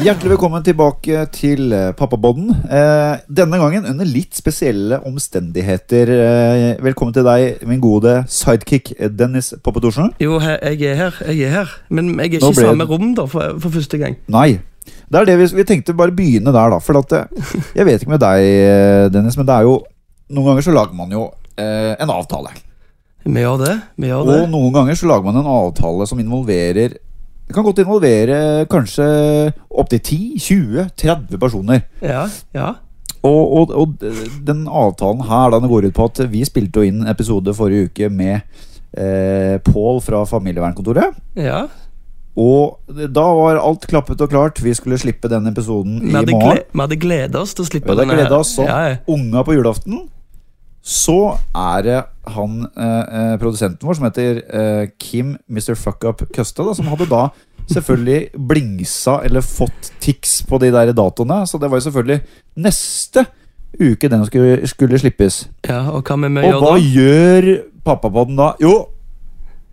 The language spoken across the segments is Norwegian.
Hjertelig velkommen tilbake til eh, Pappabodden. Eh, denne gangen under litt spesielle omstendigheter. Eh, velkommen til deg, min gode sidekick eh, Dennis Poppetorsen. Jo, he- jeg er her, jeg er her. Men jeg Nå er ikke i ble samme det- rom da, for, for første gang. Nei. Det er det vi, vi tenkte bare begynne der, da. For at, eh, jeg vet ikke med deg, eh, Dennis, men det er jo Noen ganger så lager man jo eh, en avtale. Vi gjør det. vi gjør det. Og noen ganger så lager man en avtale som involverer Det kan godt involvere kanskje opptil 10-20-30 personer. Ja, ja. Og, og, og den avtalen her da, den går ut på at vi spilte jo inn en episode forrige uke med eh, Pål fra familievernkontoret. ja. Og da var alt klappet og klart. Vi skulle slippe den episoden Vi i hadde, morgen. gle vi hadde gleda oss til å Vi slippe hadde her. gleda oss sånn. Ja, ja. Unga på julaften. Så er det han eh, eh, produsenten vår som heter eh, Kim Mr. Fuckup Custa, da, som hadde da selvfølgelig blingsa eller fått tics på de der datoene. Så det var jo selvfølgelig neste uke den skulle, skulle slippes. ja, og hva vi må Og hva gjøre da? gjør pappabodden da? Jo,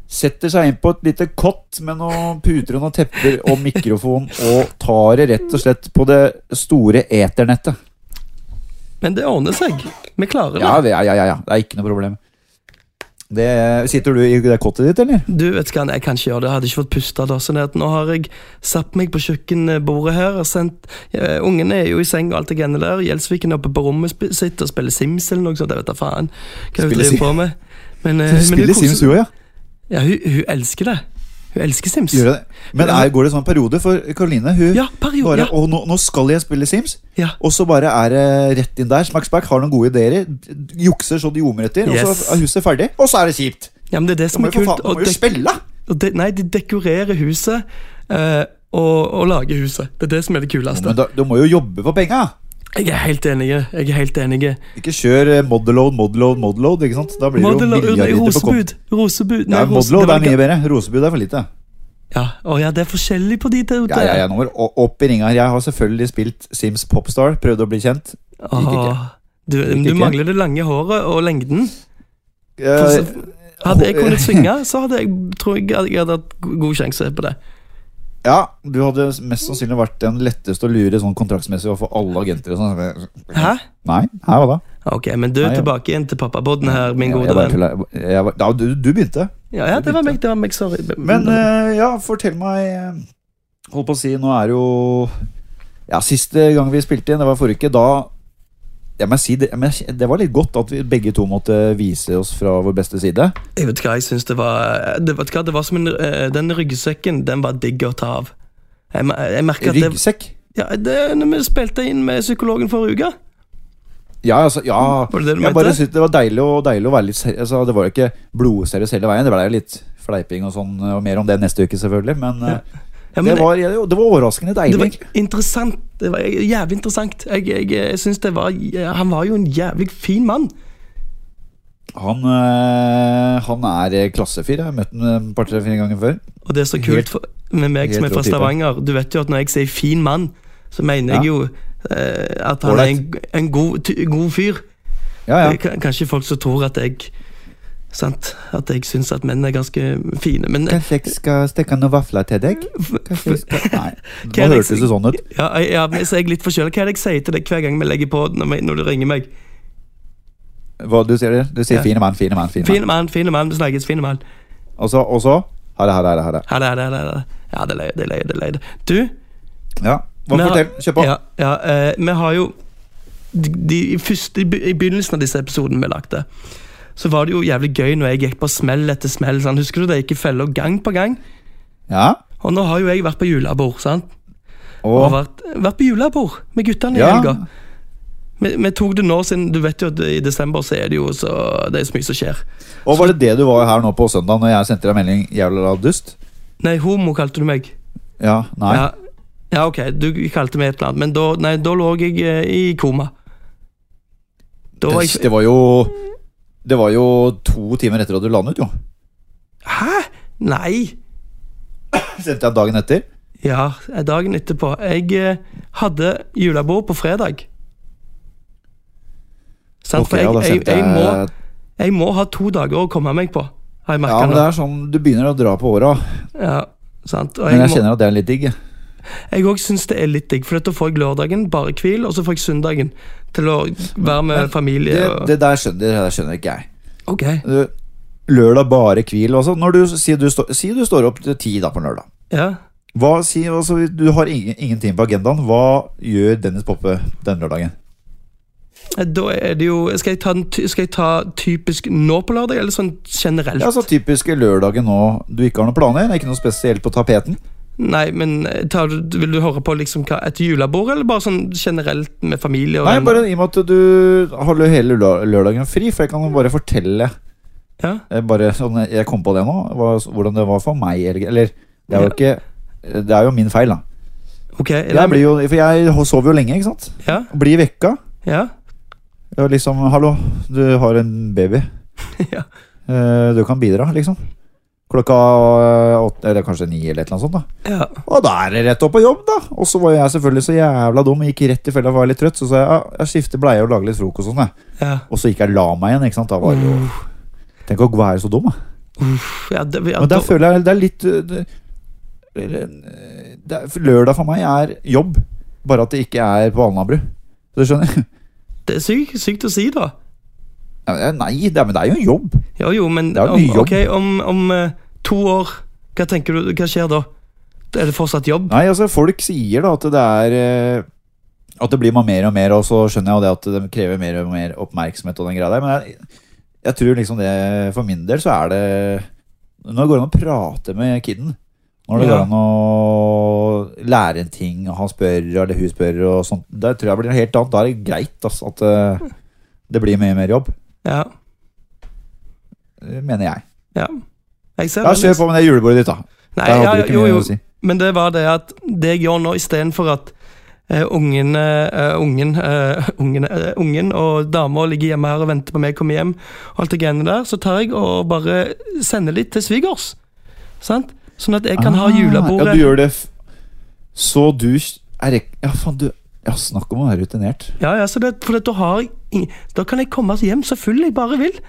setter seg inn på et lite kott med noen puter og noen tepper og mikrofon og tar det rett og slett på det store eternettet. Men det ordner seg. Vi klarer det. Ja, det- ja, ja, ja, ja. Det er ikke noe problem. Det, sitter du i det kottet ditt, eller? Du vet hva, jeg kan ikke gjøre det. Jeg hadde ikke fått puste da. sånn at Nå har jeg satt meg på kjøkkenbordet her og sendt eh, Ungene er jo i seng og alt det greiene der. Gjelsviken er oppe på rommet sp sitt og spiller Sims eller noe sånt. Jeg vet da faen hva hun Spiller driver Sims. på med. Men, Du eh, men hun spiller koser- Sims, du òg, ja. Ja, hun, hun elsker det. Hun elsker Sims. Gjør det. Men er, går det sånn periode for Karoline? Hun Ja, periode. bare Ja, Og nå, nå skal jeg spille Sims, ja. og så bare er det rett inn der. Smacks back, har noen gode ideer. Jukser så det ljomer etter, og Yes. så er huset ferdig. Og så er det kjipt! ja, men det er det Du som må er jo for kult. faen du Og må jo dek spille! og de nei, de dekorerer huset eh, og, og lager huset. Det er det som er det kuleste. Men da, du må jo jobbe for penga! Jeg er helt enig. Jeg er helt enig. Ikke kjør eh, modeload, modeload, modeload. ikke sant? Da blir det jo Model og nei, milliardliter på konto. rosebud. Rosebud. Ja, rose- modeload det var er ikke- mye bedre. Rosebud er for lite. Ja, å ja, det er forskjellig på de der ute. Ja, ja, ja, nå må du o- opp i ringa. her. Jeg har selvfølgelig spilt Sims Popstar. Prøvde å bli kjent. Gikk ikke. Åh, du, Gikk du ikke. mangler det lange håret og lengden. Eh, Hadde jeg kunnet synge, så hadde jeg, tror jeg jeg hadde hatt go- god sjanse på det. ja, du hadde mest sannsynlig vært den letteste å lure sånn kontraktsmessig overfor alle agenter. og sånn. Hæ? Nei, her var det. Ok, men du, Nei, ja. tilbake igjen til pappabodden her, min Jeg- gode jeg bare venn. tulla. Jeg- jeg var- Ja, du, du begynte. Ja, ja, det var meg, det var meg, sorry. Men eh, ja, fortell meg eh, Holdt på å si, nå er det jo Ja, siste gang vi spilte igjen, det var forrige uke, da jeg må si det, men jeg- det var litt godt at vi begge to måtte vise oss fra vår beste side. eh, Jeg vet hva, jeg synes det var eh, det, vet hva, det var som en eh, Den ryggsekken, den var digg å ta av. Jeg, mer- jeg merker at det, Ryggsekk. ja, det Når vi spilte inn med psykologen forrige uke Ja, altså, ja Var det det du Jeg mente? bare synes det var deilig, å- deilig å være litt seriøs. Altså, det var jo ikke blodseriøs hele veien. Det ble jo litt fleiping og sånn, og mer om det neste uke, selvfølgelig. Men, eh, ja, men det, var, ja, det var overraskende det deilig. var interessant. Det var jævlig interessant. Jeg, jeg, jeg synes det var Han var jo en jævlig fin mann. Han, eh, han er klassefyr. Jeg har møtt ham et par-tre-fire ganger før. Og det er så kult Helt- for, med meg som helt er fra rå type. Stavanger. Du vet jo at når jeg sier fin mann, så mener Ja. jeg jo eh, at han er en, en god, ty, god fyr. Ja, ja. Det er ka- Kanskje folk som tror at jeg Sant? At jeg syns at menn er ganske fine. Men ja, Kanskje jeg skal steke noen vafler til deg? Kanskje jeg skal Nei, Hva er nå det jeg hørtes det sånn ut. jeg- ja, men så er jeg litt forskjellig. Hva er det jeg sier til deg hver gang vi legger på når, vi- når du ringer meg? Hva du sier det? Du sier Ja. 'fine mann, fine mann'. fine mann. Fine mann, fine mann, vi snakkes, fine mann. Og så, og så Ha det, ha det, ha det. Ha det, ha det, ha det, ha det. Ja, det er løye, det er løye, det er løye. Du, Ja. Hva Men- fortell? Kjør på. Ja, ja eh, vi har jo de, de, i første, I be- i begynnelsen av disse episodene vi lagde, så var det jo jævlig gøy når jeg gikk på smell etter smell. Sant? Husker du det? Jeg gikk i fella gang på gang. Ja. Og nå har jo jeg vært på julebord, sant? Og Og vært, vært på julebord med guttene i Ja. helga. Vi, vi tok det nå siden Du vet jo at i desember så er det jo så, det er så mye som skjer. Og var det det du var her nå på søndag når jeg sendte deg melding jævla dust? Nei, homo kalte du meg. Ja, nei. Ja, ja, ok, du kalte meg et eller annet, men da, nei, da lå jeg eh, i koma. Da var det, jeg det var jo Det var jo to timer etter at du landet, jo. Hæ? Nei! Sendte jeg dagen etter. Ja, dagen etterpå. Jeg eh, hadde julebord på fredag. Sant, Ok, for jeg, ja, da jeg, sendte jeg, jeg, må, jeg må ha to dager å komme meg på, har jeg Ja, merka men nå. det er sånn Du begynner å dra på åra. Ja, sant? Og Men jeg jeg må, kjenner at det er litt digg. jeg. Jeg òg syns det er litt digg, for da får jeg lørdagen, bare hvil, og så får jeg søndagen til å være med familie. Det, og... det der skjønner, det der skjønner ikke jeg. Ok. Du, Lørdag bare hvil. Altså. Når du, sier, du står- sier du står opp til ti da på lørdag. Ja. Hva, si, altså, du har ingen, ingenting på agendaen. Hva gjør Dennis Poppe denne lørdagen? Eh, Da er det jo Skal jeg ta, den, ty- skal jeg ta typisk nå på lørdag, eller sånn generelt? Ja, så Typisk lørdagen nå du ikke har noen planer. Ikke noe spesielt på tapeten. Nei, men eh, tar, du- vil du høre på liksom hva, et julebord, eller bare sånn generelt med familie? Og Nei, bare I og med at du har hele lø- lørdagen fri, for jeg kan bare fortelle ja? eh, bare sånn, Jeg kom på det nå, hva, hvordan det var for meg. Eller, eller det er jo ikke Det er jo min feil, da. Ok. er det- Jeg blir jo, for jeg sover jo lenge, ikke sant? Ja? Blir vekka. Ja? Og liksom Hallo, du har en baby. ja. Eh, Du kan bidra, liksom. Klokka åtte, eller kanskje ni, eller et eller annet sånt. da ja. Og da er det rett opp på jobb, da! Og så var jeg selvfølgelig så jævla dum, gikk rett i fella og var litt trøtt. Så sa jeg ja, jeg skifter bleie og lager litt frokost og sånn, jeg. ja. Og så gikk jeg og la meg igjen, ikke sant. Da var Mm. det jo Tenk å være så dum, da. Uff, ja, det, ja, Men da- der føler jeg det er litt uh, det, eh, det, er- Lørdag for meg er jobb, bare at det ikke er på Alnabru. Så Du skjønner? det er sykt, sykt å si, da. Ja, men det er- Nei, det er, men det er jo en jobb. Ja jo, men Det er jo om, mye jobb. ok, om, om eh, to år, hva tenker du, hva skjer da? Er det fortsatt jobb? Nei, altså Folk sier da at det er eh, At det blir man mer og mer, og så skjønner jeg jo det at det krever mer og mer oppmerksomhet. og den greia der Men jeg, jeg tror liksom det for min del så er det Når det går an å prate med kiden Når det Ja. går an å lære en ting, og han spør eller hun spør og sånt Der tror jeg blir noe helt annet. Da er det greit altså, at eh, det blir mye mer jobb. Ja. eh, Mener jeg. ja. Jeg ser Ja, den. Kjør på med det julebordet ditt, da. Nei, Der ja, hadde du ikke jo, mye jo. å si. Men det var det at det jeg gjør nå, istedenfor at eh, ungen, eh, ungen, eh, ungen, eh, ungen og dama ligger hjemme her og venter på meg å komme hjem, og alt det greiene der, så tar jeg og bare sender litt til svigers. Sant? Sånn at jeg kan ha Ah, julebordet. Ja, du gjør det f Så du er ek- Ja, faen, du Ja, snakk om å være rutinert. Ja, ja, så det, for det, da, har jeg, ing- da kan jeg komme hjem så full jeg bare vil.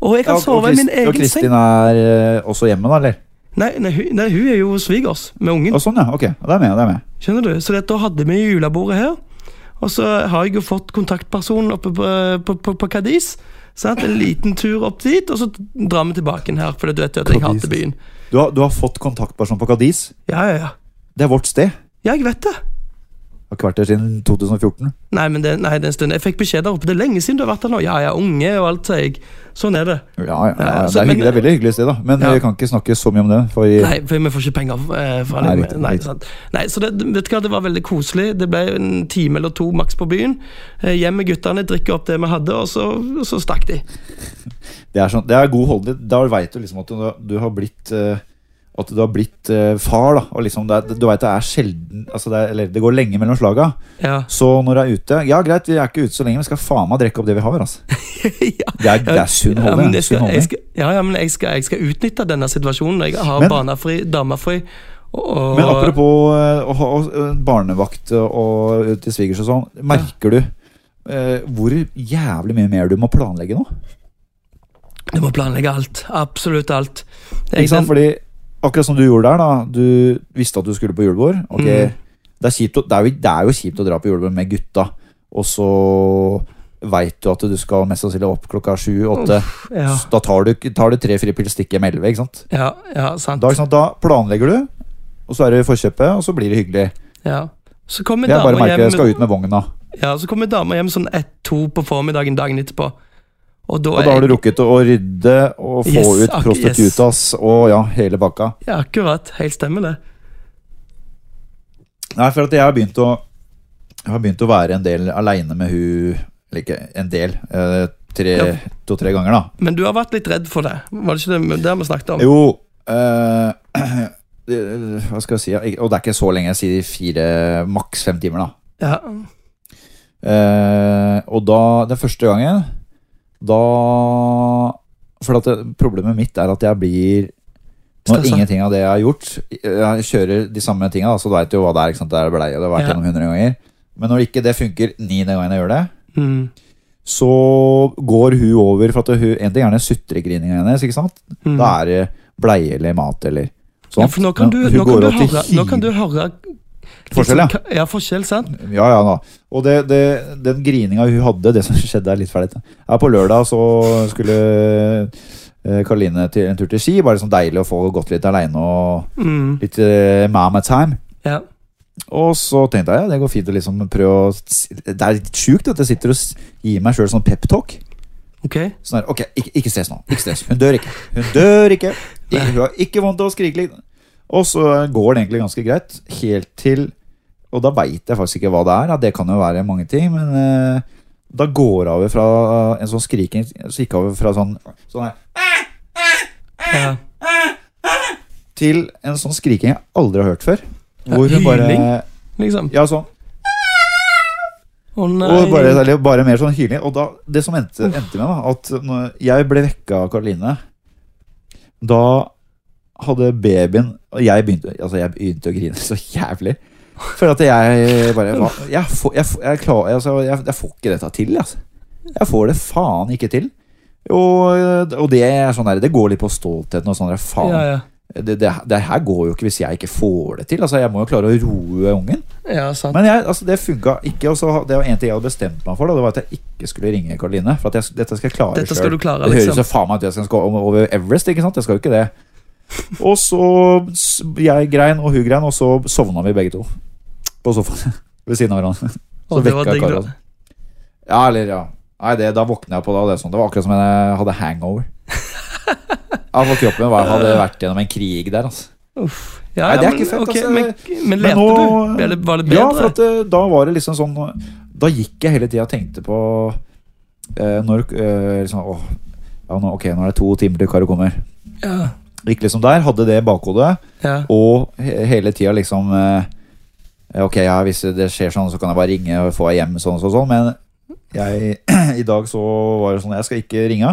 Og jeg kan Ja, og- sove og i min Krist- Og egen Kristin seng. er eh, også hjemme, da, eller? Nei, nei, hun, nei, hun er jo svigers med Og ungen, sånn, ja. Ok, ja, det er med. det er med skjønner du. Så det, da hadde vi julebordet her. Og så har jeg jo fått kontaktpersonen oppe på, på, på, på Cadiz. Sant? En liten tur opp dit, og så drar vi tilbake igjen her. For du vet jo at jeg Cadiz. hater byen. Du har, du har fått kontaktperson på Kadis. Ja, ja, ja. Det er vårt sted. Ja, jeg vet det. Har ikke vært der siden 2014. Nei, men det, nei, det er en stund. Jeg fikk beskjed der oppe. Det er lenge siden du har vært der nå. Ja, ja, unge og alt, sier jeg. Sånn er det. Ja, ja, ja, Ja, det, altså, er men- hyggelig, det er veldig hyggelig sted, da. Men eh, Ja. vi kan ikke snakke så mye om det. For i, Nei, for vi får ikke penger eh, fra Nei, dem. riktig, Nei, riktig. sant. Nei, så det, vet du hva, det var veldig koselig. Det ble en time eller to maks på byen. Eh, Hjem med guttene, drikke opp det vi hadde, og så, og så stakk de. det, er sånn, det er god holdning. Da veit du liksom at du, du har blitt eh, At du har blitt eh, far, da. Og liksom det, er- du veit det er sjelden altså det, er, eller, det går lenge mellom slaga. Ja. Så når jeg er ute Ja, greit, vi er ikke ute så lenge, men vi skal faen meg drikke opp det vi har. Altså. ja. Det er, det er sunn Ja, holdning. men jeg sunn skal, jeg holdning. skal, ja, ja, men jeg skal, jeg skal utnytte denne situasjonen. Jeg har Men- barnefri, damefri. Og, Men apropos eh, å ha- å- eh, barnevakt og ut til svigers og sånn, merker du eh, hvor jævlig mye mer du må planlegge nå? Du må planlegge alt. Absolutt alt. Jeg- Ikke sant? Fordi akkurat som du gjorde der, da. Du visste at du skulle på julebord. ok, Mm. det, er kjipt å, det, er jo, det er jo kjipt å dra på julebord med gutta, og så veit du at du skal mest sannsynlig opp klokka sju-åtte. den- ja, Da tar du, tar du tre fripils, stikker hjem elleve, ikke sant? ja, ja, sant. Da, ikke sant? da planlegger du, og så er det forkjøpet, og så blir det hyggelig. Ja. Så kommer Jeg bare dama merker hjem jeg skal ut med vogna. Ja, så kommer dama hjem sånn ett-to på formiddagen dagen etterpå. Og da, Og da har du rukket å rydde og få Yes, ut ak- prostitutas og ja, hele bakka. Ja, akkurat. Helt stemmer det. Nei, for at jeg har begynt å Jeg har begynt å være en del aleine med hun Eller ikke en del. Eh, tre, Ja. To-tre ganger, da. Men du har vært litt redd for det. Var det ikke det, det vi snakket om? Jo eh, det- Hva skal jeg si? ja, ikke- Og det er ikke så lenge jeg sier fire, maks fem timer, da. Ja. Eh, og da, den første gangen Da For at det, problemet mitt er at jeg blir Når Stressa. ingenting av det jeg har gjort Jeg kjører de samme tingene da, Så du vet jo hva det er, ikke sant? Det er bleie, og det har vært Ja. gjennom hundre ganger Men når ikke det funker niende gangen jeg gjør det Mm. Så går hun over For at hun, en ting er den sutregrininga hennes, ikke sant? Mm. Da er det bleie eller mat eller Sant? Ja, for nå kan du, hun nå kan går du, over til høre, nå kan du høre sånn Forskjell, ja. ja. forskjell, sant? Ja, ja da. Og det, det, den grininga hun hadde, det som skjedde er litt fælt. Her på lørdag så skulle eh, Karoline til en tur til Ski. Bare sånn deilig å få gått litt aleine og Mm, litt eh, mama time. ja. Og så tenkte jeg ja, det går fint å liksom prøve å s- Det er litt sjukt at jeg sitter og s- gir meg sjøl sånn peptalk. Ok. Sånn her, ok, ikke, ikke stress nå. Ikke stress. Hun dør ikke. Hun dør ikke. ikke hun har ikke vondt av å skrike litt. Og så går det egentlig ganske greit, helt til Og da veit jeg faktisk ikke hva det er. Ja, det kan jo være mange ting, men eh, da går det over fra en sånn skriking Så gikk det over fra sånn, sånn her, Ja. til en sånn skriking jeg aldri har hørt før. Hvor hun bare hyling? Liksom. eh, Ja, sånn. Å nei. Og bare, eller bare mer sånn hyling. Og da, det som endte, endte med, da, at når jeg ble vekka av Karoline Da hadde babyen Og jeg begynte, altså jeg begynte å grine så jævlig. For at jeg bare hva- Jeg, får, jeg, får- jeg, klar, altså, jeg, jeg får ikke dette til, altså. Jeg får det faen ikke til. Og, og det er sånn der, det går litt på stoltheten og sånn der, faen. Ja, ja. Det, det, det her går jo ikke hvis jeg ikke får det til. Altså, jeg må jo klare å roe ungen. ja, sant. Men jeg, altså, det funka ikke. Og så, ha- det var en ting jeg hadde bestemt meg for. Da, det var At jeg ikke skulle ringe Karoline. For at jeg, dette skal jeg klare Dette skal selv. du klare, Det høres liksom. jo faen meg ut som jeg skal gå om- over Everest. ikke sant? Jeg skal jo ikke det. Og så s- jeg grein, og hun grein, og så sovna vi begge to. På sofaen ved siden av hverandre. Så Å, det var vekka digg, da. Karoline. Ja, eller ja. Nei, det, da våkna jeg på det. og Det, er sånn. det var akkurat som jeg hadde hangover. Ja, for kroppen var, hadde vært gjennom en krig der, altså. Uff. Nei, Ja, ja, det er men, ikke fett, ok, altså. Men, men Men lette nå- du? Ble det, var det bedre? Ja, for at, eh, da var det liksom sånn Da gikk jeg hele tida og tenkte på eh, Når eh, liksom, åh, ja, nå, Ok, nå er det to timer til Karo kommer. ja. Gikk liksom der, hadde det i bakhodet, ja. og he hele tida liksom eh, Ok, ja, hvis det skjer sånn, så kan jeg bare ringe og få deg hjem, sånn og sånn, sånn, men jeg, i dag så var det sånn Jeg skal ikke ringe.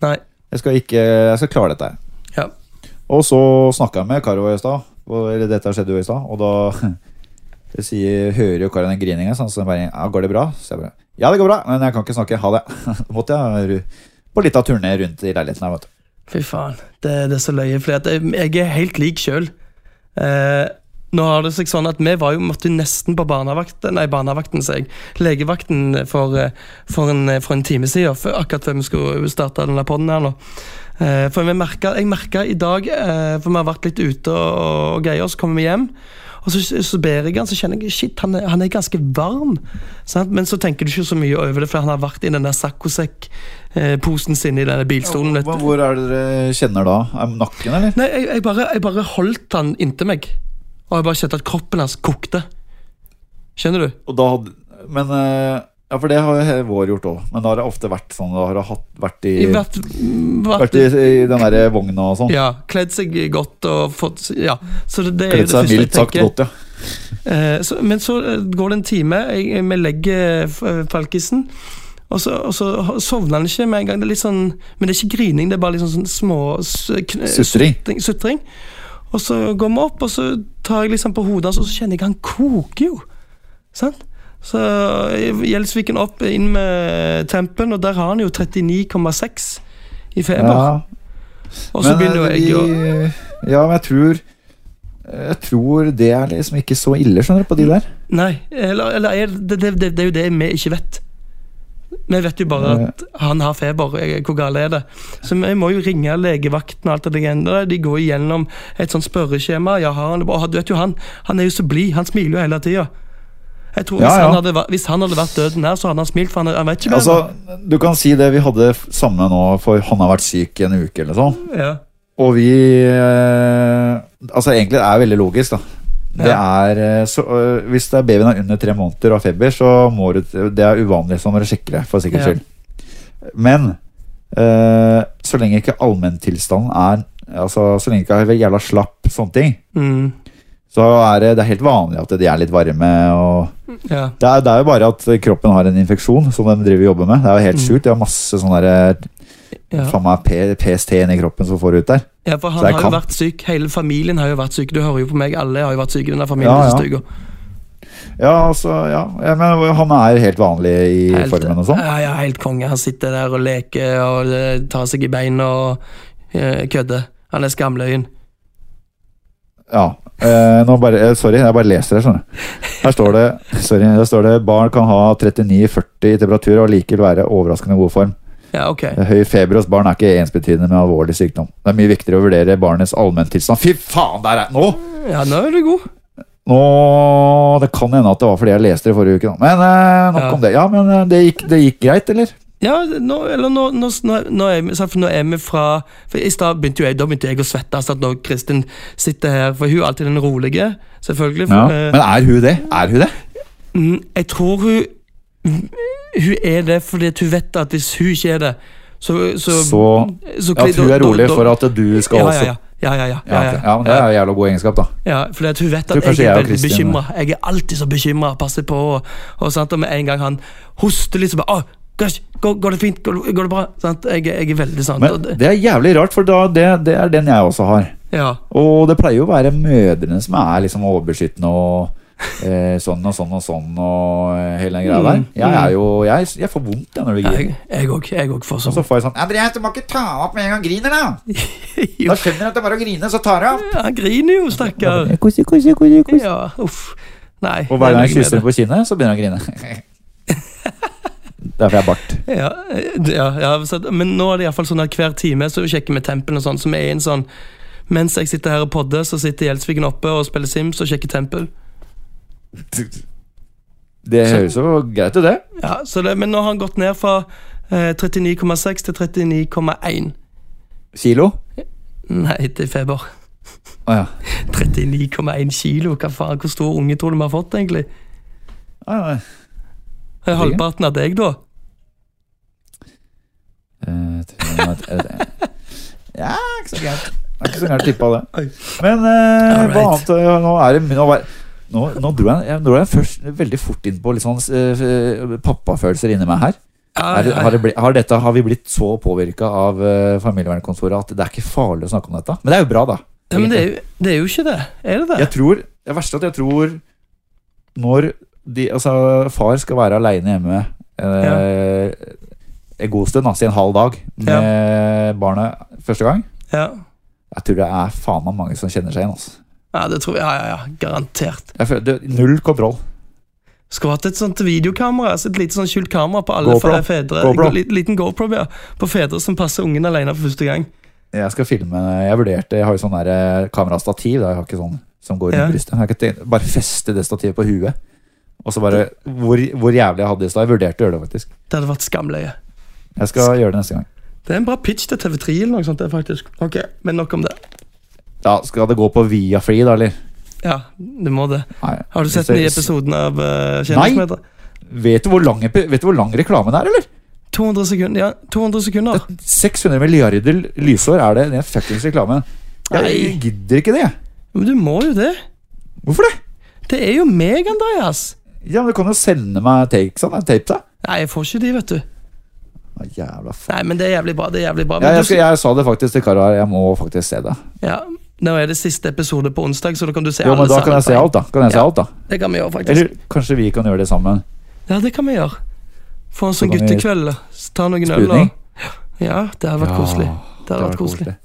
Nei. Jeg skal, ikke, jeg skal klare dette. her. Ja. Og så snakka jeg med Karo i stad, og- eller dette skjedde jo i stad, og da det sier, hører jo Karo den grininga, sånn, så jeg bare ja, 'Går det bra?' Så jeg bare 'Ja, det går bra, men jeg kan ikke snakke. Ha det.' Da måtte jeg ru- på litt av turné rundt i leiligheten her, vet du. Fy faen, det, det er så løye, for jeg, jeg er helt lik sjøl. Eh, nå har det seg sånn at vi var jo, måtte jo nesten på barnevakten, nei, barnevakten, sier jeg, legevakten for, eh, for, en, for en time siden, før- akkurat før vi skulle starte denne podden her nå. Eh, for vi merket, jeg merka i dag, eh, for vi har vært litt ute og, og greier, så kommer vi hjem. Og så, så ber jeg han, så kjenner jeg shit, han er, han er ganske varm. Sant? Men så tenker du ikke så mye over det, for han har vært i denne saccosekk-posen eh, sin i denne bilstolen. vet du. Hvor, hvor er det dere kjenner da? Er det Nakken, eller? Nei, jeg, jeg, bare, jeg bare holdt han inntil meg. Og jeg bare kjente at kroppen hans kokte. Skjønner du? Og da hadde, men eh, Ja, for det har jo he- vår gjort òg, men da har det ofte vært sånn. Da har det hatt, vært i I hvert, hvert, vært i, i den der vogna og sånn. Ja, Kledd seg godt og fått Ja. Så det, det er jo Kledd det seg første jeg mildt sagt tenker. godt, ja. Eh, så, men så eh, går det en time, jeg, jeg- vi legger eh, Falkisen. Og så, og så ho- sovner han ikke med en gang. Det er litt sånn, men det er ikke grining, det er bare litt sånn, sånn små s- kn- Sutring. sutring- sutring. Og så går vi opp, og så tar jeg liksom på hodet hans, og så kjenner jeg han koker jo. Sant? Så eh, Gjelsviken opp, inn med tempen, og der har han jo 39,6 i feber. Ja. og så begynner jo eh, jeg å de- Ja, men jeg tror Jeg tror det er liksom ikke så ille, skjønner du, på Mm, de der. Nei, eller, eller er det, det, det, det er jo det vi ikke vet. Vi vet jo bare at han har feber. eh, Hvor galt er det? Så vi må jo ringe legevakten og alt det der. De går igjennom et sånt spørreskjema. Ja, har han det bra? Og Du vet jo han, han er jo så blid. Han smiler jo hele tida. Jeg tror Ja, hvis, ja. Han hadde, vært- hvis han hadde vært døden her, så hadde han smilt, for han, han vet ikke bedre. Altså, du kan si det vi hadde f- samme nå, for han har vært syk i en uke eller sånn. ja. Og vi eh, Altså, egentlig det er veldig logisk, da. Det er, eh, så, eh, hvis det er babyen er under tre måneder og har feber, så må du Det er uvanlig, så må du sjekke det, for sikkerhets Ja. skyld. Men eh, så lenge ikke allmenntilstanden er Altså, så lenge ikke er jævla slapp sånne ting, Mm, så er det, det er helt vanlig at de er litt varme. Og ja. det, er, det er jo bare at kroppen har en infeksjon som den driver og jobber med. Det er jo helt sjukt. De har masse sånn der, Ja. faen meg, P- PST inni kroppen som får ut der. ja, for han Så jeg har jo kan- vært syk. Hele familien har jo vært syk. Du hører jo på meg, alle har jo vært syke i denne familien. Ja, Ja, ja. Ja, altså, ja. ja men han er helt vanlig i Helt- formen og sånn. Ja, ja, helt konge. Han sitter der og leker og eh, tar seg i beina og eh, kødder. Han er skamløyen. Ja. Eh, nå bare, eh, sorry, jeg bare leser her, skjønner du. Her står det sorry, der står det barn kan ha 39-40 i temperatur og likevel være overraskende god form. Eh, Ja, ok. Høy feber hos barn er ikke ensbetydende med alvorlig sykdom. Det er mye viktigere å vurdere barnets allmenntilstand. Fy faen, der er Nå! Ja, nå er du god. Nå, Det kan hende at det var fordi jeg leste det forrige uke, da. Men eh, nok Ja. om det. Ja, men eh, det gikk, det gikk greit, eller? Ja, nå, eller nå, nå, nå, nå, er, vi- sant, for nå er vi fra For i stad begynte jo jeg, Da begynte jeg å svette altså at når Kristin sitter her. For hun er alltid den rolige, selvfølgelig. For, Ja. eh, Men er hun det? Er hun det? mm, jeg tror hun Hun er det fordi at hun vet at hvis hun ikke er det, så Så, Så at hun er rolig for at du skal ja, også ja, ja, ja, ja, Ja, ja, ja, ok. ja, men Det er jo jævla god egenskap, da. Ja, fordi at hun vet Tror at jeg kanskje jeg er og veldig Kristin- bekymra. Jeg er alltid så bekymra, passer på. Og, og, sant? og med en gang han hoster litt, så bare Å, gosh, går, går det fint? Går, det- går det bra? Sant? Jeg, er- jeg er veldig sånn. Men og det- det er jævlig rart, for da, det, det er den jeg også har. Ja, Og det pleier jo å være mødrene som er liksom overbeskyttende og eh, sånn og sånn og sånn og eh, hele den greia der. Jeg er jo Jeg, jeg får vondt jeg når det griner. Mm. jeg jeg òg. Jeg òg får Og så sånn. får jeg sånn Andreas, du må ikke ta av med en gang griner, da! Da skjønner du at det er bare å grine, så tar du av. Ja, Han griner jo, stakkar. Kosi, kosi, kosi, kosi. Ja, uff. Nei. Og hver gang nei, jeg med kysser det. henne på kinnet, så begynner hun å grine. Derfor jeg har bart. Ja, eh, ja, ja så, at- men nå er det iallfall sånn at hver time så sjekker vi tempen og sånn, så vi er i en sånn Mens jeg sitter her og podder, så sitter Gjelsviken oppe og spiller Sims og sjekker tempel. Det høres jo greit ut, det. Ja, så det, Men nå har han gått ned fra eh, 39,6 til 39,1. Kilo. Nei, til feber. Å ja. 39,1 kilo, hva faen? Hvor stor unge tror du vi har fått, egentlig? Å, ja. Er halvparten av deg, da? Eh, tror jeg at- eh, Ja, ikke så gærent. Det er ikke så gærent tippa, det. Men eh, hva Alright. annet eh, Nå er det nå, var, nå, nå dro jeg, jeg, dro jeg først veldig fort inn på litt sånn eh, pappafølelser inni meg her. Ja, Er, ja, har, det blitt, har, dette, har vi blitt så påvirka av eh, familievernkontoret at det er ikke farlig å snakke om dette? Men det er jo bra, da. ja, men det er, jo, det er jo ikke det. Er det det? Jeg tror, Det verste er at jeg tror når de, altså, far skal være aleine hjemme eh, en god stund, altså i en halv dag, med barnet første gang Ja, Jeg tror det er faen meg mange som kjenner seg igjen. Altså. ja det tror jeg. Ja, ja, ja. Garantert. Jeg føler, det, null kontroll. Skulle hatt et sånt videokamera, altså et lite sånn skjult kamera på alle GoPro. fe- fedre. GoPro. Li- Liten GoPro, ja. På fedre som passer ungen alene for første gang. Jeg skal filme Jeg vurderte Jeg har jo sånn der eh, kamerastativ. Da. Jeg har ikke sånn som går Ja. rundt brystet. Jeg har ikke tenkt, bare feste det stativet på huet. Og så bare hvor, hvor jævlig jeg hadde det i stad. Jeg vurderte å gjøre det, faktisk. Det hadde vært skamløye. Jeg skal gjøre det neste gang. Det er en bra pitch til TV3 eller noe sånt, det, faktisk. Ok, Men nok om det. Ja, Skal det gå på Viafree, da, eller? Ja, du må det. Nei. Har du sett den i episoden av uh, Kjendismeter? Vet du hvor lang, epi- vet du hvor lang reklamen er, eller? 200 sekunder. Ja, 200 sekunder. 600 milliarder lysår er det i den fuckings reklamen. Jeg Nei. gidder ikke det. jeg. Men du må jo det. Hvorfor det? Det er jo meg, Andreas. Ja, men Du kan jo sende meg takes av tape, da. Nei, jeg får ikke de, vet du. Å, Jævla faen. Nei, men det er jævlig bra. det er jævlig bra. Men Ja, jeg, du- skal, jeg sa det faktisk til Kara. Jeg må faktisk se det. ja, nå er det siste episode på onsdag, så da kan du se Jo, men alle Da kan sammen jeg se på en. alt, da. Kan jeg se Ja. alt da Det kan vi gjøre, faktisk. Eller kanskje vi kan gjøre det sammen. Ja, det kan vi gjøre. Få en sånn kan vi- guttekveld. s- Ta noen øl Spudning? og Ja, det hadde Ja, vært koselig. Det Det hadde hadde vært koselig.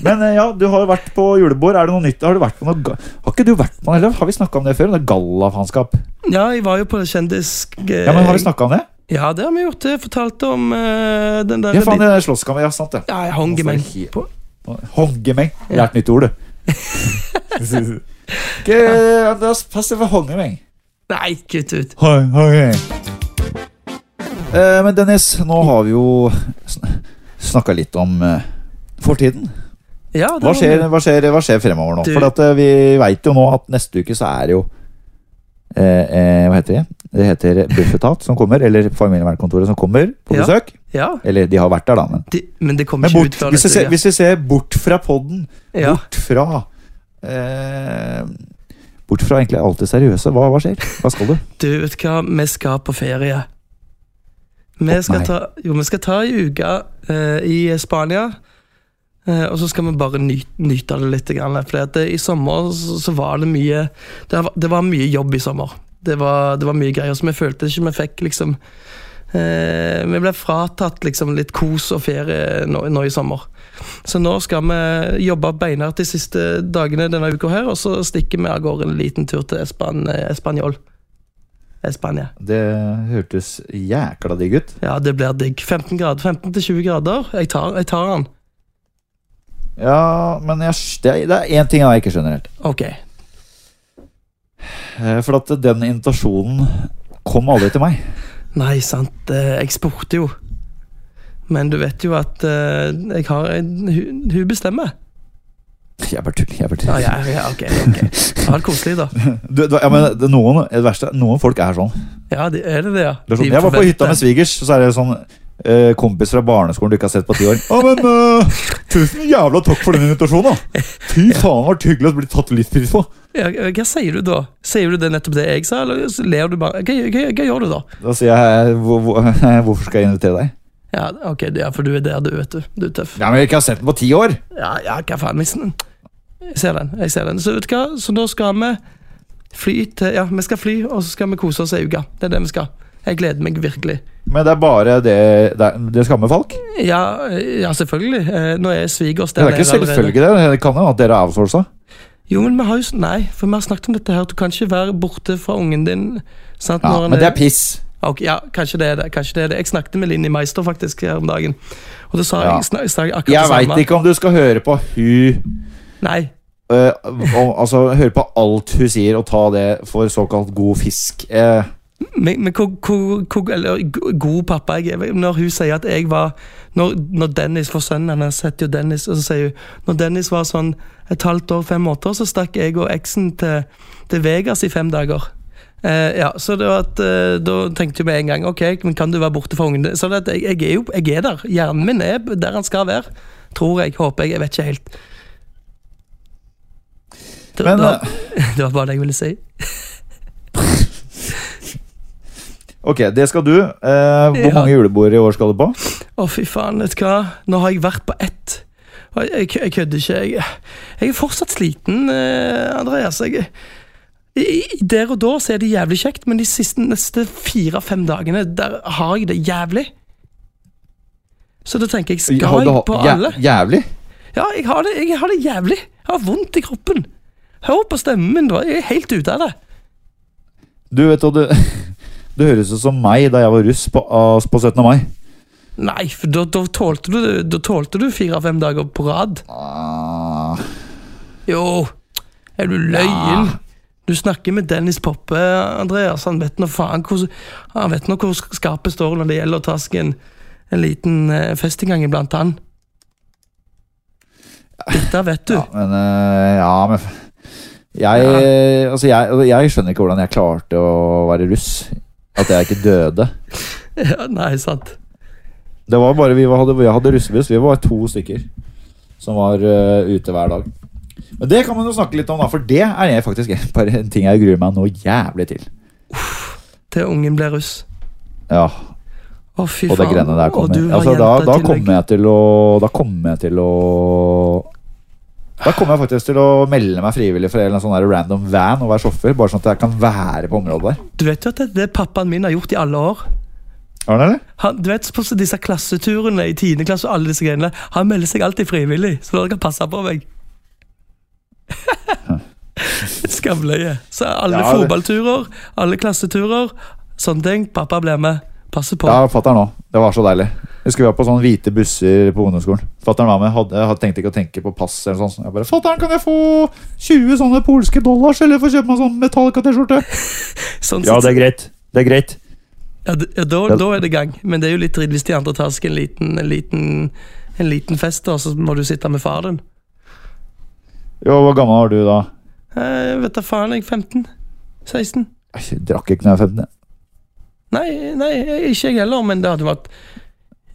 Men eh, ja, du har jo vært på julebord. Er det noe nytt? Har du vært på noe ga- Har ikke du vært på noe, eller har vi snakka om det før? Det er gallafanskap. Ja, jeg var jo på kjendis... Ja, men har vi snakka om det? Ja, det har vi gjort. Jeg fortalte om eh, den der Ja, faen, det er slåsskammer. Ja, sant det. Ja, jeg hang i meg Altså, på Hongemeng. Lært nytt ord, du. Ikke da Pass deg for hongemeng. Nei, kutt ut. Hong, Eh, men Dennis, nå har vi jo sn snakka litt om eh, fortiden. Ja, det Hva var skjer, det. hva, skjer, hva skjer fremover nå? Du- For at, eh, vi veit jo nå at neste uke så er det jo eh, eh, Hva heter det? Det heter Bufetat som kommer, eller Familievernkontoret som kommer på Ja. besøk. Ja, Eller de har vært der, da, men de, men det kommer men ikke bort, ut før hvis, vi neste ser, uke. hvis vi ser bort fra podden, Ja. bort fra eh, Bort fra egentlig alt det seriøse, hva, hva skjer? Hva skal du? Du vet hva, vi skal på ferie. Vi Å, skal nei. ta, jo, vi skal ta ei uke eh, i Spania. eh, og så skal vi bare nyte, nyte av det litt. For i sommer så, så var det mye det var, det var mye jobb i sommer. Det var, det var mye greier. Så vi følte ikke vi fikk liksom eh, Vi ble fratatt liksom litt kos og ferie nå, nå i sommer. Så nå skal vi jobbe beinhardt de siste dagene denne uka her, og så stikker vi av gårde en liten tur til Espan eh, Espanjol. Espania. Det hørtes jækla digg ut. Ja, det blir digg. 15 grader, 15 til 20 grader. Jeg tar, jeg tar den. Ja, men jeg, sk- det er- det er én ting jeg ikke skjønner helt. Ok. Eh, For at den invitasjonen kom aldri til meg. Nei, sant. eh, Jeg spurte jo. Men du vet jo at eh, jeg har en, hun, hun bestemmer. Jeg bare tuller. jeg bare Ja, tuller. ja, ja, ok. ok. Ha det koselig, da. Du, du, Ah, ja, men det- noen, det verste, noen folk er sånn. Ja, det, er det det, ja? Det er De sånn jeg var på hytta forventer- med svigers, så er det sånn eh, kompis fra barneskolen du ikke har sett på ti år. Å, men eh, tusen jævla takk for den invitasjonen, da! Fy faen, var det hyggelig å bli tatt litt pris på! Ja, hva sier du da? Sier du det nettopp det jeg sa, eller så ler du bare? Hva, hva, hva gjør du da? Da sier jeg eh, hvor, hvor, hvorfor skal jeg invitere deg? Ja, ok, det er for du er der, du, vet du. Du er tøff. Ja, men jeg ikke har sett den på ti år! Ja, ja, hva faen, hvis den- Jeg ser den, jeg ser den. Så vet du hva, så da skal vi fly til Ja, vi skal fly, og så skal vi kose oss ei uke. Det er det vi skal. Jeg gleder meg virkelig. Men det er bare det Det, er- det skammer folk. Ja, ja selvfølgelig. Eh, Nå er svigers Det der er ikke nede allerede. selvfølgelig, det. Det kan jo at dere er outsourca. Jo, men vi har jo s- Nei, for vi har snakket om dette her. Du kan ikke være borte fra ungen din. Sant, Ja, når han men det er piss. Ok, ja, kanskje det er det. kanskje det er det. Jeg snakket med Linni Meister faktisk her om dagen. Og da sa Ja. jeg, snak, sa jeg akkurat Jeg det veit samme. ikke om du skal høre på hun Nei, eh, om, Altså høre på alt hun sier, og ta det for såkalt god fisk. Eh, men, men hvor, hvor, hvor eller, go- god pappa jeg er Når hun sier at jeg var Når, når Dennis for sønnen hennes heter jo Dennis, og så sier hun Når Dennis var sånn et halvt år, fem måneder, så stakk jeg og eksen til, til Vegas i fem dager. Eh, ja, så det var at eh, Da tenkte jeg med en gang Ok, men kan du være borte for ungen din? Så det at jeg, jeg er jo jeg er der. Hjernen min er der han skal være. Tror jeg, håper jeg. Jeg vet ikke helt. Det, Men, det, var, det var bare det jeg ville si. ok, det skal du. Eh, hvor Ja. mange julebord i år skal du på? Å, fy faen, vet du hva? Nå har jeg vært på ett. Og jeg, jeg, jeg kødder ikke. Jeg, jeg er fortsatt sliten, eh, Andreas. Jeg, i, i- der og da så er det jævlig kjekt, men de siste, neste fire-fem dagene der har jeg det jævlig. Så da tenker jeg, skal jeg på Jæ- alle? Jævlig? Ja, jeg har det, jeg har det jævlig. Jeg har vondt i kroppen. Hør på stemmen min, da. Jeg er helt ute av det. Du vet hva du Du høres ut som meg da jeg var russ på, av- på 17. mai. Nei, for da, da tålte du, da tålte du fire-fem dager på rad. Ah, Jo, er du løyen? Du snakker med Dennis Poppe, Andreas. Han vet nå faen hvor, han vet nå hvor skapet står når det gjelder å ta seg en, en liten eh, fest en gang iblant han. Dette vet du. ja, men eh, Ja, men jeg, altså jeg, jeg skjønner ikke hvordan jeg klarte å være russ. At jeg ikke døde. Ja, nei, sant. Det var bare, vi var, hadde, Jeg hadde russebuss. Vi var to stykker som var eh, ute hver dag. Men det kan man jo snakke litt om, da, for det er jeg faktisk bare en ting jeg gruer meg noe jævlig til. Til ungen blir russ. Ja, Å, fy Og det faen. greiene der Og kommer. du var Altså, da, da jenta i tillegg. kommer jeg til å Da kommer jeg til å Da kommer jeg faktisk til å melde meg frivillig for en eller annen sånn der random van og være sjåfør. Bare sånn at jeg kan være på området der. Du vet jo at det er det pappaen min har gjort i alle år. Har du det, eller? Han, du vet på disse klasseturene i 10. klasse og alle disse greiene. Han melder seg alltid frivillig, så dere kan passe på meg. Skamløye. Så alle Ja, det- fotballturer, alle klasseturer, sånne ting. Pappa blir med. Passe på. Ja, fatter'n òg. Det var så deilig. Husker vi var på sånne hvite busser på ungdomsskolen. Fatter'n var med. Hadde, hadde tenkte ikke å tenke på pass eller sånn. Jeg bare 'Fatter'n, kan jeg få 20 sånne polske dollars, eller få kjøpe meg sånn Metallica-T-skjorte?' Sånn sett- er greit. Det er greit. ja, d- ja, da, da er det gang. Men det er jo litt dritt hvis de andre tar seg en liten, en liten, en liten fest, da, så må du sitte med far din. Jo, hvor gammel var du da? Eh, vet da faen, jeg. 15? 16? Jeg drakk ikke når jeg var 15. Nei, nei, ikke jeg heller, men det hadde vært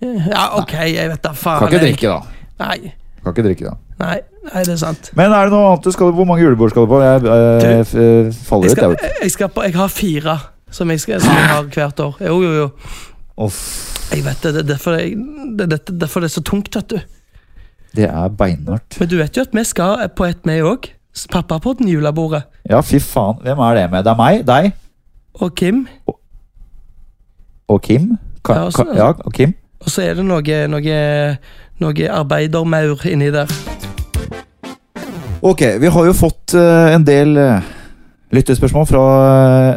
Ja, OK, jeg vet da faen. Kan ikke jeg- drikke, da. Nei, Kan ikke drikke, da. nei, nei, det er sant. Men er det noe annet du skal Hvor mange julebord skal du på? Jeg eh, f- eh, faller Jeg, ut, jeg skal, vet. jeg, skal på, jeg har fire som jeg, skal, som jeg har hvert år. Jo, jo, jo. Uff, Jeg vet det. Det er derfor, jeg, det, er dette- derfor det er så tungt, vet du. det er beinhardt. Men du vet jo at vi skal på et, vi òg. Pappapodden, julebordet. Ja, fy faen. Hvem er det med? Det er meg, deg Og Kim. og Kim. Ka Ja, ka også- altså. ja, og Kim. Og så er det noe, noe, noe arbeidermaur inni der. Ok, vi har jo fått eh, en del eh, lyttespørsmål fra eh,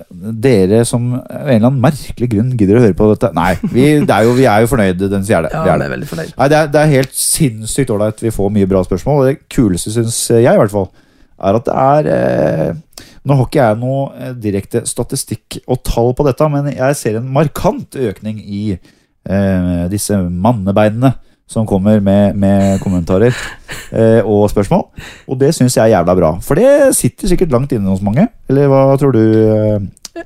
dere som av en eller annen merkelig grunn gidder å høre på dette. Nei, vi, det er jo, vi er jo fornøyde, den sier det. Ja, Vi er jeg det. er veldig fornøyd. Nei, det er, det er helt sinnssykt ålreit. Vi får mye bra spørsmål. Og det kuleste, syns jeg, i hvert fall, er at det er eh, Nå har ikke jeg noe eh, direkte statistikk og tall på dette, men jeg ser en markant økning i eh, disse mannebeinene som kommer med, med kommentarer eh, og spørsmål. Og det syns jeg er jævla bra. For det sitter sikkert langt inne hos mange. Eller hva tror du? Eh,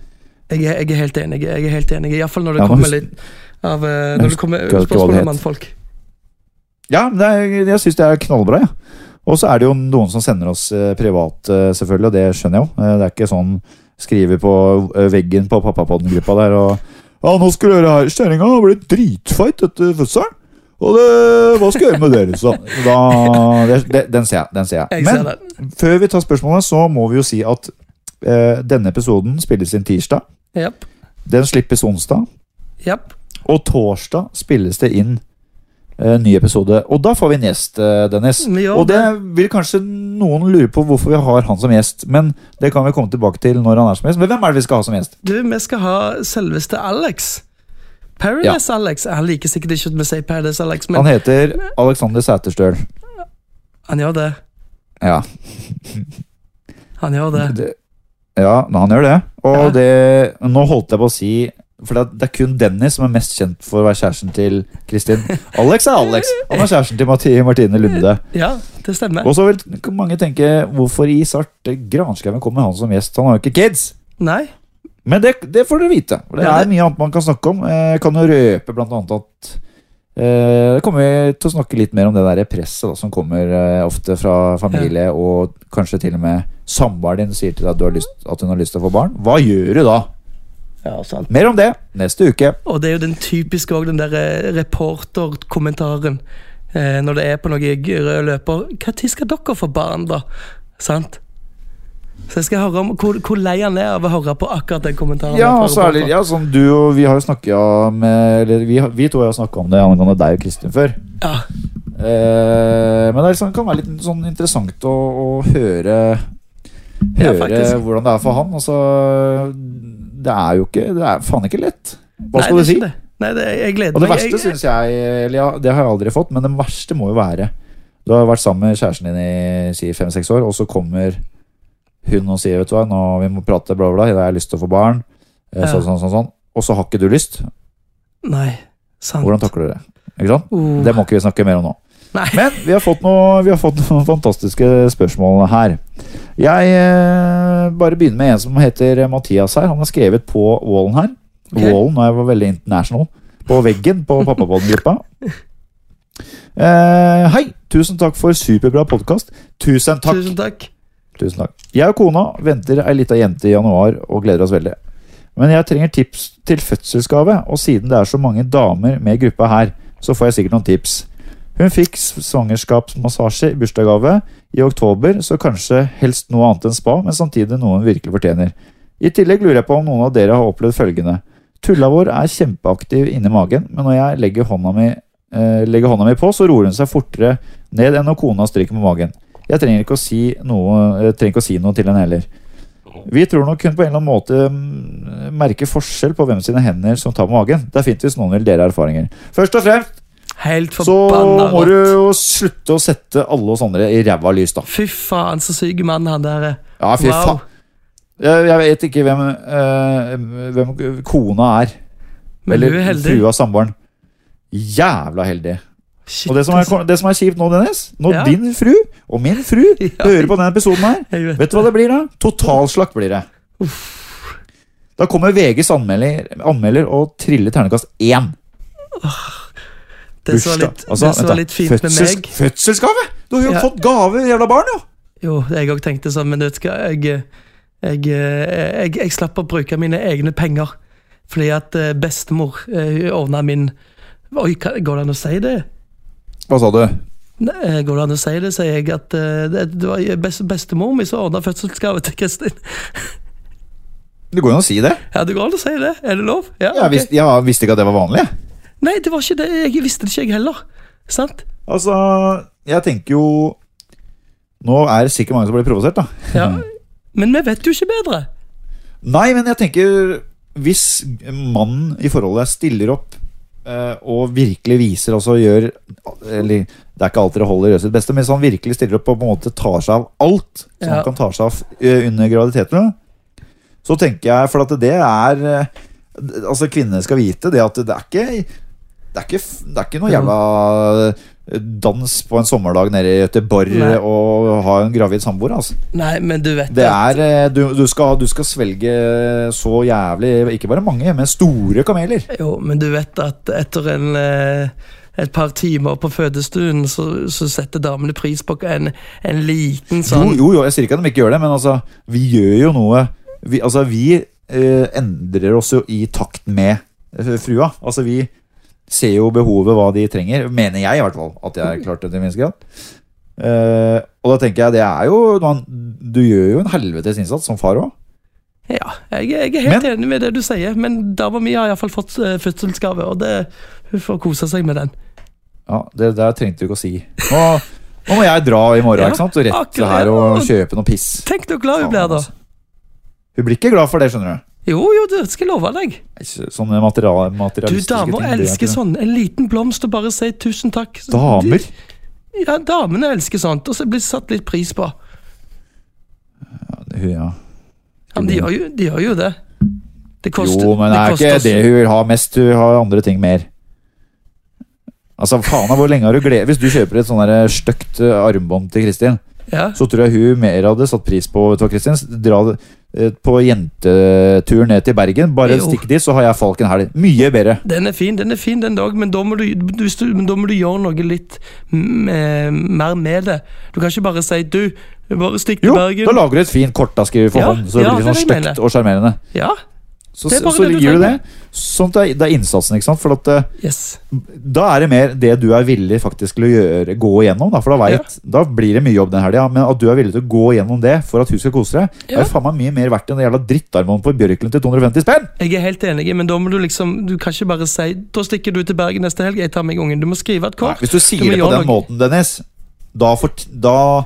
Jeg er, jeg er helt enig. jeg er helt enig, Iallfall når det Ja, nå kommer husk- litt av eh, Jeg Når det kommer husker ikke hva det spørsmål het. om mannfolk. Ja, men det er, jeg syns det er knallbra. Ja. Og så er det jo noen som sender oss eh, privat, eh, selvfølgelig, og det skjønner jeg jo. Eh, Det er ikke sånn skriver på eh, veggen på pappapodden-gruppa der og Ja, nå skal du gjøre her, kjerringa. Det blir dritfight etter fødselen. Og det, hva skal jeg gjøre med dere? Så da, det, det, den ser jeg. Den ser jeg. Jeg Men ser den. før vi tar spørsmålet, så må vi jo si at eh, denne episoden spilles inn tirsdag. Japp. Den slippes onsdag. Japp. Og torsdag spilles det inn eh, ny episode. Og da får vi en gjest, eh, Dennis. Vi gjør og det vil kanskje noen lure på hvorfor vi har han som gjest. Men det kan vi komme tilbake til når han er som gjest. Men hvem er det vi skal ha som gjest? Du, vi skal ha selveste Alex. Paradise-Alex. Han liker sikkert ikke at vi sier Paradise-Alex, men Han han, heter Alexander Sæterstøl. gjør det. Ja. Han gjør det. Det, ja, men han gjør det. Og Ja. det Nå holdt jeg på å si for det er- det er kun Dennis som er mest kjent for å være kjæresten til Kristin. Alex er Alex. Han er kjæresten til Mati- Martine Lunde. Ja, det stemmer. Og så vil mange tenke hvorfor i svarte granskauen kommer han som gjest? Han har jo ikke kids! Nei. Men det, det får dere vite. For det Ja, det- er mye annet man kan snakke om. Eh, Jeg kan jo røpe blant annet at eh, det kommer vi til å snakke litt mer om det der presset da, som kommer eh, ofte fra familie, og kanskje til og med samboeren din sier til deg at, du har lyst, at hun har lyst til å få barn. Hva gjør du da? Ja, sant. Mer om det neste uke. Og det er jo den typiske òg, den der eh, reporterkommentaren. Eh, når det er på noe g- rød løper. Når skal dere få barn, da? Sant? Så jeg skal høre om hvor, hvor lei han er av å høre på akkurat den kommentaren. Ja, fra og så er det, reporteren. ja, sånn du og vi har jo snakket med eller vi, har- vi to har jo snakka om det angående deg og Kristin før. ja. Eh, men det er liksom, kan være litt sånn interessant å, å høre Ja, Høre faktisk. hvordan det er for han. Altså, det er jo ikke Det er faen ikke lett. Hva Nei, skal du det er si? ikke det. Nei, det, jeg gleder Og det meg. verste jeg, syns jeg Eller ja, det har jeg aldri fått, men det verste må jo være Du har vært sammen med kjæresten din i si, fem-seks år, og så kommer hun og sier Vet du hva, nå vi må prate, bla, bla, bla, jeg har lyst til å få barn, eh, Ja. sånn, sånn, sånn, sånn. Og så har ikke du lyst. Nei, sant. Hvordan takler du det? Ikke sant? Oh. Det må ikke vi snakke mer om nå. Nei. Men vi har fått, noe, vi har fått noen fantastiske spørsmål her. Jeg eh, bare begynner med en som heter Mathias her. Han har skrevet på wallen her. Ok. Wallen, og jeg var veldig international. På veggen på Pappapodden-gruppa. Eh, hei! Tusen takk for superbra podkast. Tusen takk! Tusen takk. Tusen takk. Jeg og kona venter ei lita jente i januar og gleder oss veldig. Men jeg trenger tips til fødselsgave, og siden det er så mange damer med i gruppa her, så får jeg sikkert noen tips. Hun fikk s- svangerskapsmassasje i bursdagsgave i oktober, så kanskje helst noe annet enn spa, men samtidig noe hun virkelig fortjener. I tillegg lurer jeg på om noen av dere har opplevd følgende. Tulla vår er kjempeaktiv inni magen, men når jeg legger hånda mi, eh, legger hånda mi på, så roer hun seg fortere ned enn når kona stryker med magen. Jeg trenger ikke å si noe, jeg trenger ikke å si noe til henne heller. Vi tror nok hun på en eller annen måte mm, merker forskjell på hvem sine hender som tar på magen. Det er fint hvis noen vil dele erfaringer. Først og fremst Helt så forbanna må du rått. jo slutte å sette alle oss andre i ræva lys, da. Fy faen, så syk mann han der er. Ja, fy Wow. faen. Jeg, jeg vet ikke hvem, eh, hvem kona er. Men du er heldig. frua samboeren. Jævla heldig. Shit, altså. Og det som er, det som er kjipt nå, Dennis Når Ja. din fru og min fru Ja. hører på denne episoden her jeg vet. Vet du hva det blir da? Totalslakt blir det. Da kommer VGs anmelder, anmelder og triller ternekast én. Altså, Det som var litt, det som var litt fint med meg Fødselsgave! Du har jo Ja. fått gave, jævla barn, jo! Jo, jeg òg tenkte sånn, men vet du hva, jeg, jeg, eh, jeg, jeg slapp å bruke mine egne penger. Fordi at eh, bestemor eh, hun ordna min Oi, hva- går det an å si det? Hva sa du? Nei, eh, går det an å si det, sier jeg at eh, det det var best, bestemor mi som ordna fødselsgave til Kristin. Det går jo an å si det. Ja, det går an å si det. Er det lov? Ja, Jeg ok. visste, jeg visste ikke at det var vanlig. jeg. Nei, det var ikke det. Jeg visste det ikke, jeg heller. Sant? Altså, jeg tenker jo Nå er det sikkert mange som blir provosert, da. Ja. Men vi vet jo ikke bedre. Nei, men jeg tenker Hvis mannen i forholdet stiller opp eh, og virkelig viser altså gjør Eller det er ikke alltid det holder å gjøre sitt beste, men hvis han virkelig stiller opp og på en måte tar seg av alt som Ja. han kan ta seg av eh, under graviditeten, så tenker jeg For at det er eh, d- Altså, kvinnene skal vite det at det er ikke det er, ikke, f- det er ikke noe Ja. jævla eh, dans på en sommerdag nede i Göteborg Nei. og ha en gravid samboer. Altså. Nei, men du vet Det er, eh, du, du, skal, du skal svelge så jævlig Ikke bare mange, men store kameler. at Jo, men du vet at etter en eh, et par timer på fødestuen, så, så setter damene pris på en, en liten Jo, sånn jo, jo, jeg sier ikke at de ikke gjør det, men altså, vi gjør jo noe Vi, altså, vi eh, endrer oss jo i takt med eh, frua. Altså, vi ser jo behovet, hva de trenger. Mener jeg, i hvert fall. At jeg har klart det til en viss grad. Eh, og da tenker jeg det er jo man, Du gjør jo en helvetes innsats som far òg. Ja, jeg, jeg er helt enig med det du sier, men dama mi har iallfall fått eh, fødselsgave, og det, hun får kose seg med den. Ja, det der trengte du ikke å si. Nå, nå må jeg dra i morgen, Ja, ikke sant? Og rett til her og kjøpe noe piss. Tenk så glad hun blir, da. altså. Hun blir ikke glad for det, skjønner du. Jo, jo, det skal jeg love deg. Ikke Sånne material, Du, materialistiske ting. damer det er elsker ikke- sånn. En liten blomst og bare si tusen takk. Damer? De- Ja, damene elsker sånt, og så blir det satt litt pris på. Hun, ja. Ja, men de gjør jo, de gjør jo det. Det koster jo, men det er koster ikke oss- det hun vil ha mest. Hun har andre ting mer. Altså, faen av hvor lenge har du glede Hvis du kjøper et sånn der støkt eh, armbånd til Kristin, Ja. så tror jeg hun mer hadde satt pris på vet du hva, Kristin? Dra eh, på jentetur ned til Bergen. Bare Jo. stikk dit, så har jeg Falken helg. Mye bedre. Den er fin, den er fin den dag, men da må du, du, hvis du, men da må du gjøre noe litt mm, eh, mer med det. Du kan ikke bare si 'du, bare stikk til Jo, da Bergen'. lager du et fint kortdaske for Ja, hånd, så det ja, blir sånn det er det jeg støkt og sjarmerende. Ja, Så, Det er bare så det du gir du det. trenger. Sånn at det er, det er innsatsen, ikke sant. For at eh, yes. Da er det mer det du er villig faktisk til å gjøre, gå igjennom. Da, for da, vet, da blir det mye jobb den helga, men at du er villig til å gå igjennom det for at hun skal kose seg, det Ja. er faen meg mye mer verdt enn det jævla drittarmbåndet på Bjørklund til 250 spenn! Jeg er helt enig, men da må du liksom Du kan ikke bare si 'da stikker du til Bergen neste helg, jeg tar meg ungen'. Du må skrive et Nei, kort. hvis du sier må det på gjøre den noe. måten, Dennis, da fort... Da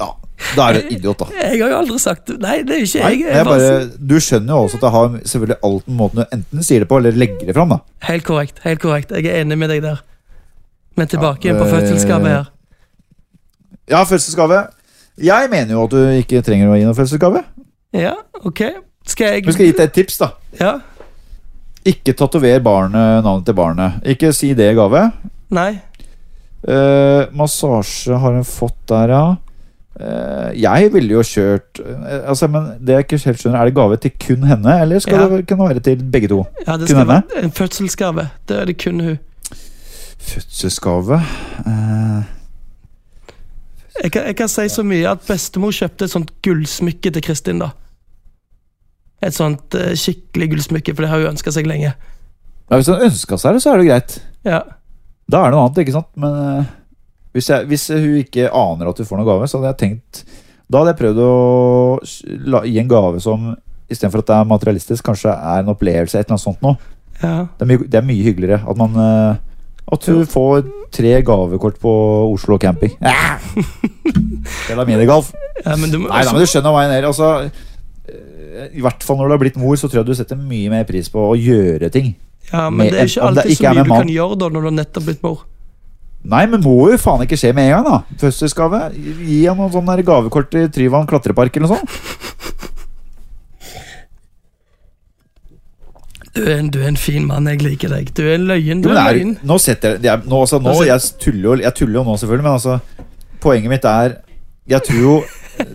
Ja, da er du en idiot, da. Jeg har jo aldri sagt Nei, det er ikke Nei, Eh, jeg. jeg bare, du skjønner jo også at det har selvfølgelig alt med måten du enten sier det på, eller legger det fram, da. Helt korrekt. helt korrekt Jeg er enig med deg der. Men tilbake Ja, igjen på eh, fødselsgave her. Ja, fødselsgave. Jeg mener jo at du ikke trenger å gi noen fødselsgave. Ja, OK. Skal jeg Men skal jeg gi deg et tips, da. Ja? Ikke tatover barnet, navnet til barnet. Ikke si det i gave. Nei? Eh, massasje har hun fått der, ja. Eh, jeg ville jo kjørt eh, altså, Men det jeg ikke helt skjønner, er det gave til kun henne, eller skal Ja. det kunne være til begge to? Ja, det Kun skal henne? være en fødselsgave. Det er det kun hun. Fødselsgave eh, Jeg kan, jeg kan si så mye at bestemor kjøpte et sånt gullsmykke til Kristin, da. Et sånt eh, skikkelig gullsmykke, for det har hun ønska seg lenge. ja, Hvis hun ønska seg det, så er det greit. Ja. Da er det noe annet, ikke sant? Men eh, hvis, jeg, hvis hun ikke aner at hun får noen gave, så hadde jeg tenkt Da hadde jeg prøvd å s- la, gi en gave som istedenfor at det er materialistisk, kanskje er en opplevelse, et eller annet sånt noe. ja. Det er mye, det er mye hyggeligere at man eh, At du får tre gavekort på Oslo camping. Ah! Det er minigolf. ja men du må Nei da, men du skjønner hva jeg mener. Altså, eh, I hvert fall når du har blitt mor, så tror jeg du setter mye mer pris på å gjøre ting. ja, men med- det er ikke om det alltid ikke er så mye med du mann. kan gjøre da når du har nettopp blitt mor. Nei, men må jo faen ikke skje med en gang, da. Fødselsgave. Gi ham noen sånne der gavekort til Tryvann klatrepark eller noe sånt. Du er, en, du er en fin mann, jeg liker deg. Du er en løyen. Du Jo, er men en det er, løyen. nå setter jeg, det er, nå, altså, nå, Altså- jeg, tuller jo, jeg tuller jo nå, selvfølgelig, men altså Poenget mitt er Jeg tror jo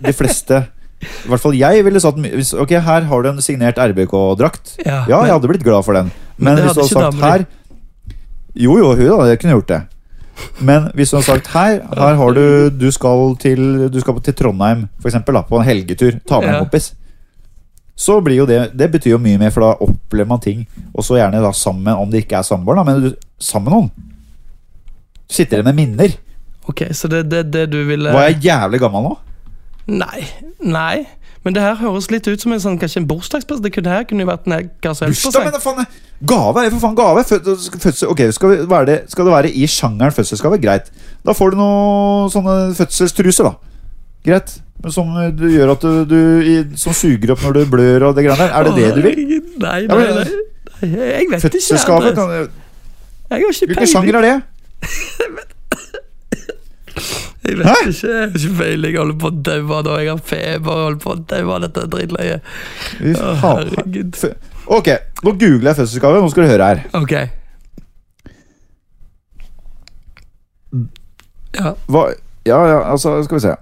de fleste I hvert fall jeg ville sagt my- hvis, Ok, her har du en signert RBK-drakt. Ja, Ja, men- jeg hadde blitt glad for den. Men, det hvis du hadde hadde ikke sagt damer her Jo, jo, hun da, jeg kunne gjort det. Men hvis du hadde sagt her Her har du Du skal til, du skal til Trondheim, for eksempel, da, på en helgetur. Ta med Ja. en kompis. Så blir jo det Det betyr jo mye mer, for da opplever man ting. Og så gjerne da sammen, om det ikke er samboer, da, men du, sammen med noen. Du sitter igjen med minner. Ok, så det er det, det du ville Var jeg jævlig gammel nå? Nei. Nei. Men det her høres litt ut som en sånn, kanskje en bursdagspass. Det kunne her kunne jo vært en hva som helst. Bursdag, men presang. da faen Gave er jo for faen gave! Fø- Fødsel, ok, skal, vi, hva er det, skal det være i sjangeren fødselsgave? Greit. Da får du noen sånne fødselstruser, da. Greit. Men som du gjør at du, du i, Som suger opp når du blør og det greiene der. Er det det du vil? Å, Nei, Ja, nei, men- nei. nei. Jeg vet ikke. Fødselsgave? Andres. Kan, Jeg har ikke hvilken peiling. sjanger er det? Jeg Hæ? vet ikke. Jeg har ikke peiling. Jeg holder på å daue nå. Jeg har feber og holder på å daue av dette dritløye. Fy Å, faen. herregud. Fø- Ok, nå googler jeg fødselsgave. Nå skal du høre her. Ok. Ja. Hva, ja, ja, altså, skal vi se.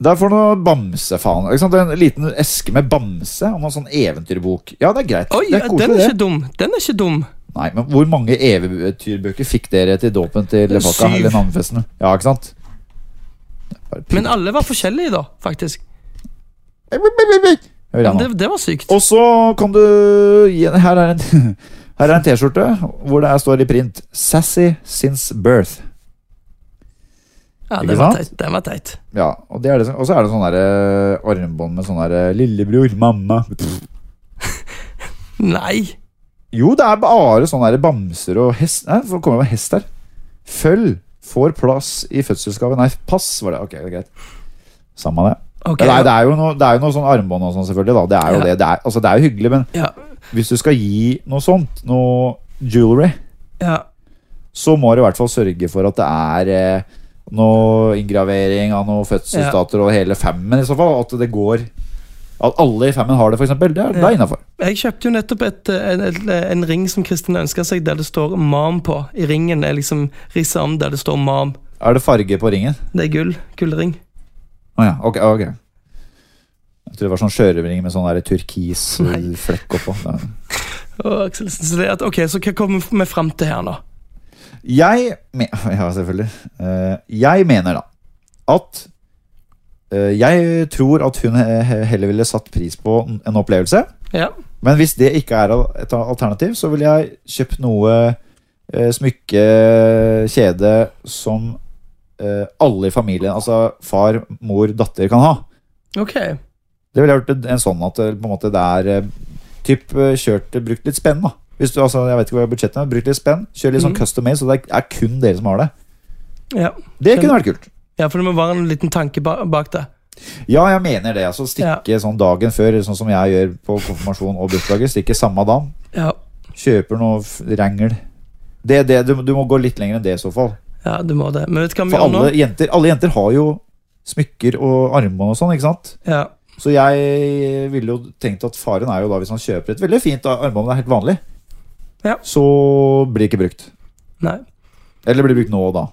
Der får du noe bamsefaen. Ikke sant? Det er En liten eske med bamse og noen sånn eventyrbok. Ja, det er greit. Oi, det ja, er den er koselig, det. ikke dum. Den er ikke dum. Nei, men Hvor mange eventyrbøker fikk dere til dåpen til Fakka? Syv. Eller navnefesten? Ja, ikke sant? Men alle var forskjellige, da, faktisk. Hører jeg nå. Det, det var sykt. Og så kan du gi en Her er en her er en T-skjorte hvor det her står i print 'Sassy since birth'. Ja, ikke den var sant? teit. Den var teit. Ja, Og det er det som- og så er det sånn der, eh, armbånd med sånn der eh, 'Lillebror, mamma'. Nei. Jo, det er bare sånne her bamser og hest Nei, det kommer jo en hest her. Føll får plass i fødselsgave Nei, pass var det. Ok, det er greit. Samme det. Ok. Nei, det er jo noe, det er jo noe sånn armbånd og sånn, selvfølgelig. da Det er jo Ja. det. Det er, altså, det er jo hyggelig, men Ja. hvis du skal gi noe sånt, noe jewelry, ja. så må du i hvert fall sørge for at det er eh, noe inngravering av noen fødselsdater og hele femmen, i så fall. At det går At alle i femmen har det, f.eks. Det er, det er Ja. innafor. Jeg kjøpte jo nettopp et, eh, en, en, en ring som Kristin ønska seg, der det står 'mam' på. I ringen er liksom rissa om der det står 'mam'. Er det farge på ringen? Det er gull. Gullring. Å ja, ok, ok Jeg tror det var sånn sjørøvering med sånn der turkis eh, Nei. flekk oppå Ja. Å, Aksel, så det er at, ok, så hva kommer vi fram til her nå? Jeg me Ja, selvfølgelig Eh, Jeg mener da At eh, Jeg tror at hun he- he- heller ville satt pris på en- en opplevelse Ja. Men hvis det ikke er al- et alternativ Så ville jeg kjøpt noe eh, Smykke Kjede som eh, Alle i familien Altså far, mor, datter kan ha Ok. Det ville vært en sånn at det, på en måte det er eh, typ eh, kjørt brukt litt spenn, da. Hvis du, altså, jeg vet ikke hva budsjettet er, brukt litt spenn, kjør litt sånn Mhm. custom made, så det er, er kun dere som har det. Ja. Det kunne vært kult. ja, for det må være en liten tanke ba bak det. Ja, jeg mener det. Altså stikke sånn dagen før, sånn som jeg gjør på konfirmasjon og bursdager. Stikke samme dagen. Ja. Kjøper noe f- rangel. Det, det, du, du må gå litt lenger enn det i så fall. ja, du må det. Men vet du hva vi For gjør nå? alle jenter, alle jenter har jo smykker og armbånd og sånn, ikke sant? Ja. Så jeg ville jo tenkt at faren er jo da hvis han kjøper et veldig fint armbånd, det er helt vanlig, Ja. så blir det ikke brukt. Nei. Eller blir det brukt nå og da.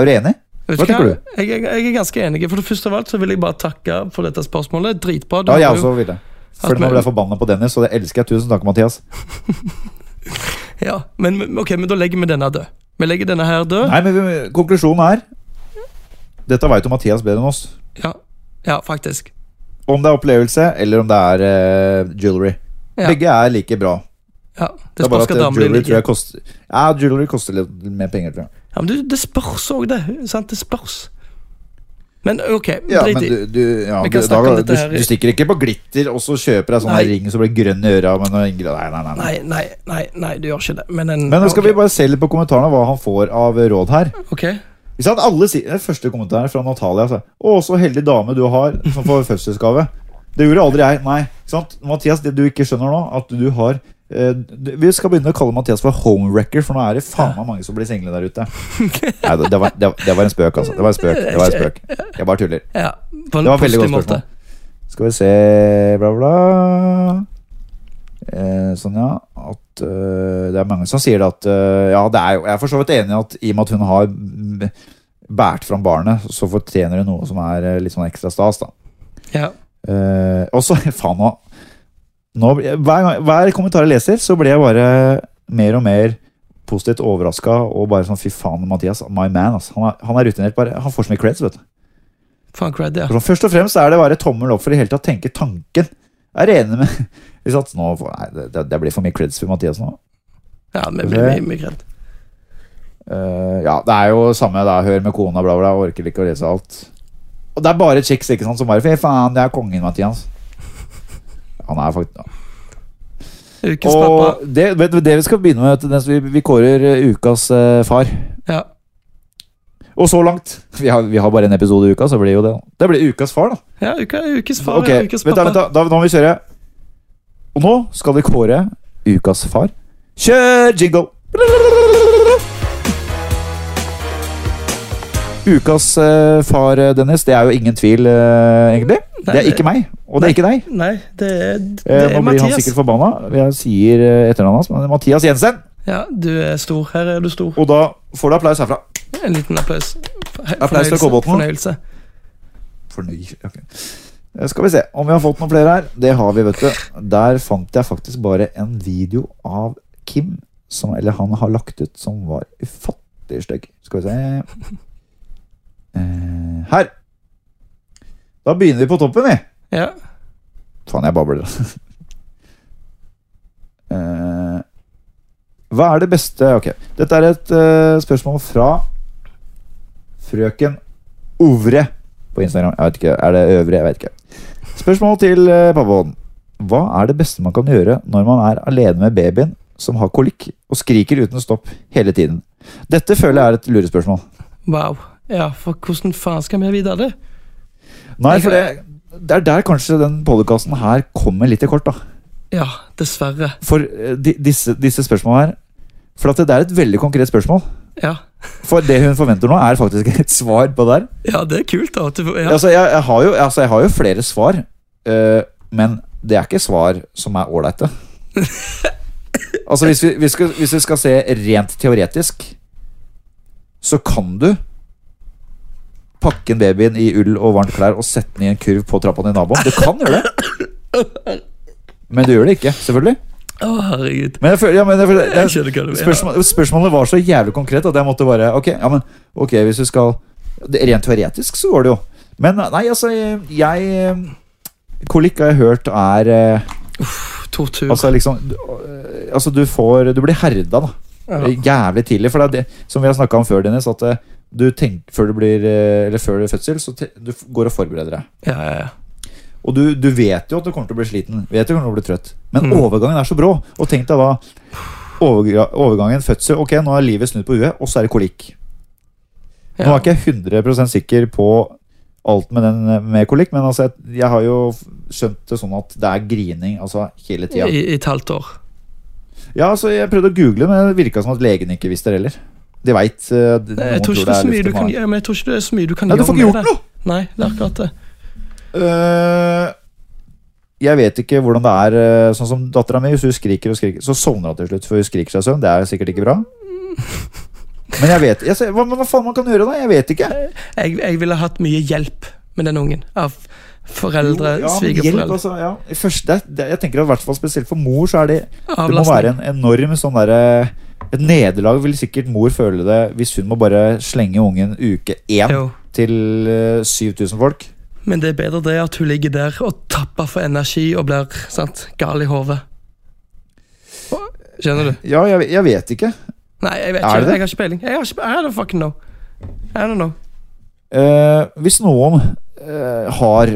Er du enig? Vet Hva tenker Jeg, jeg, jeg er ganske enig. For det første av alt så vil jeg bare takke for dette spørsmålet. Dritbra. Ja, har jeg jo- også ville. For At nå vi- ble jeg forbanna på Dennis, og det elsker jeg. Tusen takk, Mathias. Ja, men, men- ok, men da legger vi denne død. Vi legger denne her død. Nei, men vi- konklusjonen er Dette veit jo Mathias bedre enn oss. Ja. ja, faktisk. Om det er opplevelse, eller om det er eh, jewelry. Ja. Begge er like bra. Ja, Det det er bare spørs at hva eh, damen jewelry din tror jeg liker. koster Ja, jewelry koster litt mer penger, tror jeg. Ja, men du, det spørs òg, det. Sant? Det spørs. Men ok, Ja, drit men i. du, du, ja, Vi du, kan snakke om da, dette du, her i- du stikker ikke på glitter, og så kjøper jeg sånn her Nei. ring som blir grønn i øra. Men, nei, nei, nei, nei. Nei, nei, nei, nei, du gjør ikke det. Men, en, men nå skal ok, vi bare se litt på kommentarene hva han får av råd her. Ok, Ikke sant? Alle sier, det er første kommentaren fra Natalia altså. Å, så heldig dame du har som får fødselsgave. Det gjorde aldri jeg. Nei. Ikke sant? Mathias, det du ikke skjønner nå, at du har eh, du- vi skal begynne å kalle Mathias for homewrecker, for nå er det faen meg mange som blir single der ute. Nei, det, det, var, det, det var en spøk, altså. Det var en spøk. Det var en spøk. Jeg bare tuller. ja. På en Det var veldig positiv godt måte. spørsmål. Skal vi se Bla, bla. Eh, sånn, ja. At eh, det er mange som sier det at eh, Ja, det er jo Jeg er for så vidt enig i at i og med at hun har mm, båret fram barnet, så fortjener hun noe som er eh, litt sånn ekstra stas, da. Ja. Eh, og så Faen, nå. nå blir jeg- hver, gang, hver kommentar jeg leser, så blir jeg bare mer og mer positivt overraska og bare sånn Fy faen, Mathias. My man, altså. Han er, han er rutinert. Bare, han får så mye creds, vet du. Faen, cred, ja. For sånn, først og fremst er det bare tommel opp for i hele tatt å tenke tanken. Jeg er enig med Hvis at nå, får- nei, det- det, det blir for mye creds for Mathias nå. ja vi blir mye, mye cred. Eh, ja, det er jo samme da, hør med kona, bla, bla. Orker ikke å lese alt. Og det er bare chicks ikke sant, som bare Fy faen, det er kongen, Mathias. Han er faktisk Ukens pappa. Og det, vet du, det vi skal begynne med, vet du, det er at vi, vi kårer eh, ukas eh, far. Ja. Og så langt vi har, vi har bare en episode i uka, så blir jo det Det blir ukas far, da. ja, uka, ukes far Ok, ja, ukes vent da, pappa. vent da, da, nå må vi kjøre. Og nå skal vi kåre ukas far. Kjør jingle! Ukas eh, far, Dennis, det er jo ingen tvil, eh, egentlig. Nei, Det er ikke meg, og det er ikke deg. Nei, det er, det Eh, er nå blir han Mathias. sikkert forbanna. Jeg sier eh, etternavnet hans, men det er Mathias Jensen. Ja, du er stor. Her er du stor. Og da får du applaus herfra. En liten applaus. Applaus til Fornøyelse, Kolbotn. Fornøyelse. Fornøy. ok. Eh, Skal vi se om vi har fått noen flere her. Det har vi, vet du. Der fant jeg faktisk bare en video av Kim, som, eller han har lagt ut, som var ufattelig stygg. Skal vi se eh, Her! Da begynner vi på toppen, vi. Ja. Faen, jeg babler. Eh, hva er det beste Ok, dette er et eh, spørsmål fra frøken Ovre på Instagram. Jeg vet ikke, Er det Øvre? Jeg vet ikke. Spørsmål til eh, pappaen. Hva er det beste man kan gjøre når man er alene med babyen som har kolikk og skriker uten stopp hele tiden? Dette føler jeg er et lurespørsmål. Wow. Ja, for hvordan faen skal vi vite det? Nei, for det, det er der kanskje den podkasten her kommer litt til kort. da Ja, dessverre. For eh, di- disse, disse spørsmålene her For at det er et veldig konkret spørsmål. Ja. For det hun forventer nå, er faktisk et svar på det her. ja, det er kult. da. at du- Ja. Altså, jeg, jeg, har jo, altså, jeg har jo flere svar, eh, men det er ikke svar som er ålreite. altså, hvis vi, vi skal, hvis vi skal se rent teoretisk, så kan du pakke en babyen i ull og varmt klær og sette den i en kurv på trappa til naboen. Du kan gjøre det. Men du gjør det ikke, selvfølgelig. Å, herregud. Men jeg føler, ja, men jeg føler, Jeg jeg, skjønner hva du mener. Spørsmål, spørsmålet var så jævlig konkret at jeg måtte bare Ok, ja, men, ok, hvis du skal det- Rent teoretisk så går det jo. Men nei, altså, jeg Kolikk har jeg hørt er eh, Tortur. Altså liksom du- eh, Altså du får Du blir herda, da. ja. Jævlig tidlig. For det er det som vi har snakka om før, Dennis, at eh, du tenker før du blir eh, Eller før du er fødsel, så te, du f- går og forbereder deg. ja, ja, ja. Og du, du vet jo at du kommer til å bli sliten, vet jo at du kommer til å bli trøtt. Men Mm. overgangen er så brå. Og tenk deg da overga- overgangen fødsel. Ok, nå er livet snudd på huet, og så er det kolikk. Nå Ja. er ikke jeg 100 sikker på alt med, den, med kolikk, men altså, jeg, jeg har jo skjønt det sånn at det er grining altså, hele tida. I, I et halvt år. Ja, altså, jeg prøvde å google, men det virka som at legen ikke visste det heller. De eh, veit. Jeg tror, ikke det er så mye du kan, ja, men jeg tror ikke det er så mye du kan Nei, du gjøre får ikke med gjort det. noe! Nei, det er akkurat det. Eh, jeg vet ikke hvordan det er eh, Sånn som dattera mi, hvis hun skriker og skriker, så sovner hun til slutt. For hun skriker seg i søvn. Det er sikkert ikke bra. Men jeg vet jeg, ser- hva, men hva faen man kan gjøre da? Jeg vet ikke. Jeg, jeg ville hatt mye hjelp med den ungen. Av foreldre, Jo, ja, men hjelp, svigerforeldre. altså, ja. I Første, det, det, jeg tenker at i hvert fall Spesielt for mor så er det Det må være Avlastning. en enorm sånn derre Et nederlag vil sikkert mor føle det hvis hun må bare slenge ungen uke én Jo. til eh, 7000 folk. Men det er bedre det at hun ligger der og tapper for energi og blir sant, gal i hodet. Skjønner du? Ja, jeg, jeg vet ikke. Nei, jeg vet Er ikke. det det? Jeg har ikke peiling. Jeg har ikke, I don't fucking know. I don't know. Eh, hvis noen eh, har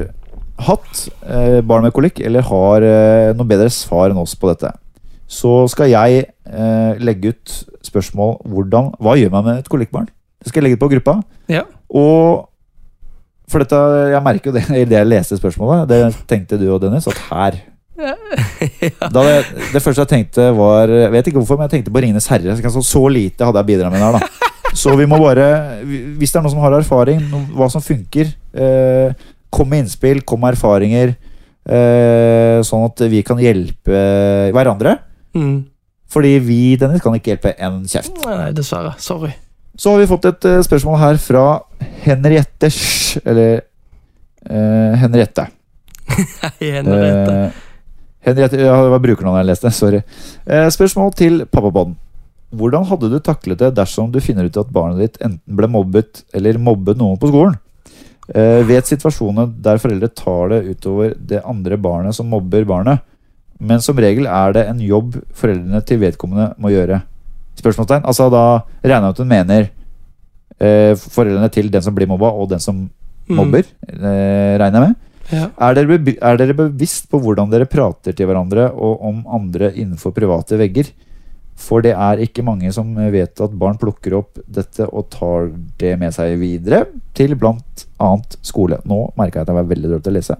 hatt eh, barn med kolikk, eller har eh, noe bedre svar enn oss på dette, så skal jeg eh, legge ut spørsmål hvordan, Hva gjør man med et kolikkbarn? Det skal jeg legge ut på gruppa. Ja. Og for dette, jeg merker jo det i det jeg leste spørsmålet. Det tenkte du og Dennis, at her da det, det første jeg tenkte var Jeg vet ikke hvorfor, men jeg tenkte på Ringenes herre. Så, kanskje så lite hadde jeg bidratt med der, da. Så vi må bare Hvis det er noen som har erfaring, no- hva som funker, eh, kom med innspill, kom med erfaringer. Eh, sånn at vi kan hjelpe hverandre. Mm. Fordi vi Dennis, kan ikke hjelpe en kjeft. Nei, dessverre. Sorry. Så har vi fått et eh, spørsmål her fra Henriette Sch, Eller eh, Henriette. Nei, Henriette. Eh, Henriette, ja, det var brukernavnet jeg leste. Sorry. Eh, spørsmål til pappabånd. Hvordan hadde du taklet det dersom du finner ut at barnet ditt enten ble mobbet eller mobbet noen på skolen? Eh, vet situasjoner der foreldre tar det utover det andre barnet som mobber barnet, men som regel er det en jobb foreldrene til vedkommende må gjøre. Spørsmålstegn. Altså Da regner jeg med at hun mener eh, foreldrene til den som blir mobba, og den som mobber, eh, regner jeg med. Mm. Ja. Er dere, bebi- er dere bevisst på hvordan dere prater til hverandre og om andre innenfor private vegger? For det er ikke mange som vet at barn plukker opp dette og tar det med seg videre til blant annet skole. Nå merka jeg at jeg var veldig dårlig til å lese.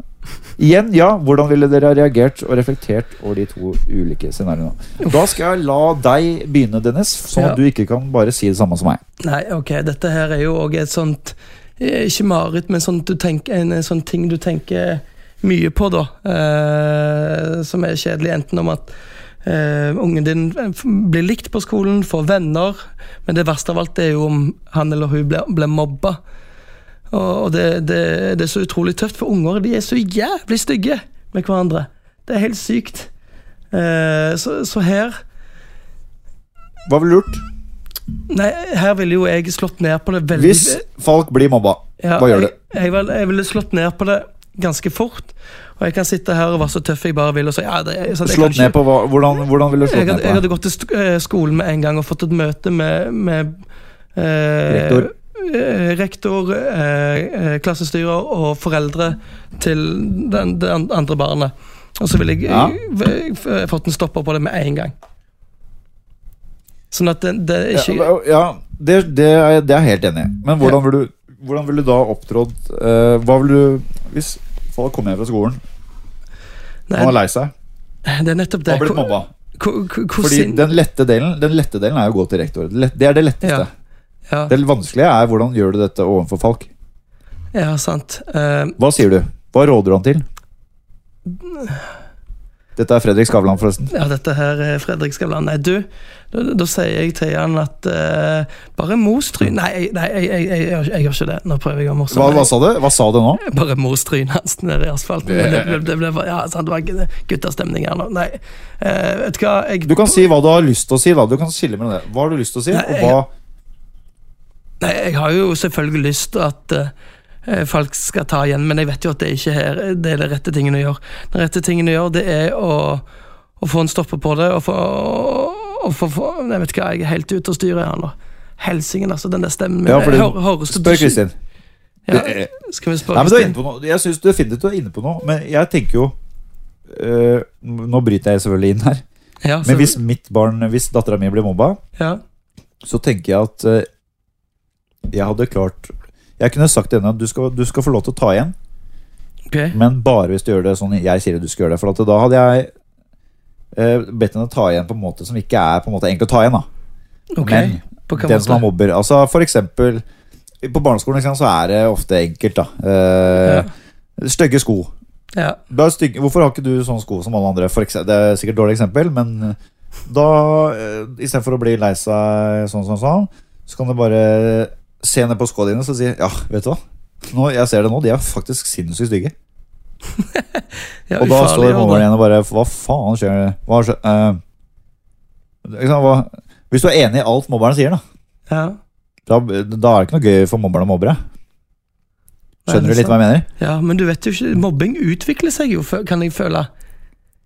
Igjen, ja. Hvordan ville dere ha reagert og reflektert over de to ulike scenarioene? Da skal jeg la deg begynne, Dennis, sånn Ja. at du ikke kan bare si det samme som meg. Nei, ok, dette her er jo òg et sånt eh, Ikke mareritt, men sånt du tenker, en eh, sånn ting du tenker mye på, da. Eh, som er kjedelig. Enten om at eh, ungen din eh, f- blir likt på skolen, får venner, men det verste av alt er jo om han eller hun blir, blir mobba. Og, og det, det, det er så utrolig tøft, for unger de er så jævlig stygge med hverandre. Det er helt sykt. Eh, så, så her Hva ville du gjort Nei, her ville jo jeg slått ned på det veldig hvis folk blir mobba? Ja, Hva gjør du? Jeg, jeg, vil, jeg ville slått ned på det ganske fort. Og jeg kan sitte her og være så tøff jeg bare vil. Og si, ja, det, er- sånn, jeg kan Slått ikke- ned på hva? Hvordan, hvordan ville du slått jeg ned hadde, på jeg det? hadde gått til sk- eh, skolen med en gang og fått et møte med, med eh, Rektor. eh, rektor, eh, eh, klassestyrer og foreldre til den, det an- andre barnet. Og så ville jeg Ja. v- f- fått en stopper på det med en gang. Sånn at det, det er ikke Ja, men- ja det, det, er, jeg- det er jeg helt enig i. Men hvordan vil du, hvordan vil du da opptrådt eh, Hva vil du Hvis folk kommer hjem fra skolen og er Nei, lei seg det er nettopp og det. har blitt mobba Hvor- hvor- hvor Fordi sint- den lette delen Den lette delen er jo å gå til rektor. Det lett- Det er det letteste. Ja. ja. Det vanskelige er hvordan gjør du dette overfor folk. Ja, sant. Eh, Hva sier du? Hva råder du han til? Dette er Fredrik Skavlan, forresten. ja, dette her er Fredrik Skavlan. Nei, du, da, da sier jeg til han at eh, Bare mos trynet Nei, jeg- nei jeg, jeg, jeg, gjør- jeg gjør ikke det. Nå prøver jeg å morsomme Hva, hva sa du? Hva sa du nå? meg. Bare mos trynet hans nede i asfalten. Det, det, ble- det, ble- ja, sant, det var guttastemning her nå. Nei, eh, vet du hva jeg, Du kan si hva du har lyst til å si. da Du kan skille mellom det. Hva har du lyst til å si, Nei, og hva nei, jeg har jo selvfølgelig lyst til at eh, folk skal ta igjen, men jeg vet jo at det ikke er, det er det rette tingen å gjøre. Den rette tingen å gjøre, det er å, å få en stopper på det, og få, og få, få Jeg vet ikke, hva, jeg er helt ute og styrer her nå. Helsingen, altså, den der stemmen min Ja, fordi- Hør- høres det- Spør Kristin. Ja, Det- skal vi spørre Nei, men du er Kristin? inne på noe. Jeg syns definitivt du er inne på noe, men jeg tenker jo øh, Nå bryter jeg selvfølgelig inn her, Ja, så- men hvis mitt barn, hvis dattera mi blir mobba, ja, så tenker jeg at øh, jeg hadde klart Jeg kunne sagt til henne at du skal, du skal få lov til å ta igjen, ok. men bare hvis du gjør det sånn jeg sier at du skal gjøre det. For at da hadde jeg øh, bedt henne å ta igjen på en måte som ikke er på en måte egentlig å ta igjen. da ok. Men på hvilken den som måte? er mobber. Altså for eksempel På barneskolen ikke sant, så er det ofte enkelt, da. Eh, Stygge sko. ja. Da er stygge, hvorfor har ikke du sånne sko som alle andre? For eksempel, det er sikkert et dårlig eksempel, men da eh, Istedenfor å bli lei seg sånn sånn sånn, så kan du bare se ned på skoene dine og si Ja, vet du hva? Nå, jeg ser det nå, de er faktisk sinnssykt stygge. ja, Og da ufarlig, står ja, mobberen igjen og bare Hva faen skjer? Hva skjer? eh, ikke sant, hva, hvis du er enig i alt mobberen sier, da, Ja. da, da er det ikke noe gøy for mobberen å mobbe deg. Nei, Skjønner du det er litt hva jeg mener? Ja, men du vet jo ikke, mobbing utvikler seg jo, fø- kan jeg føle.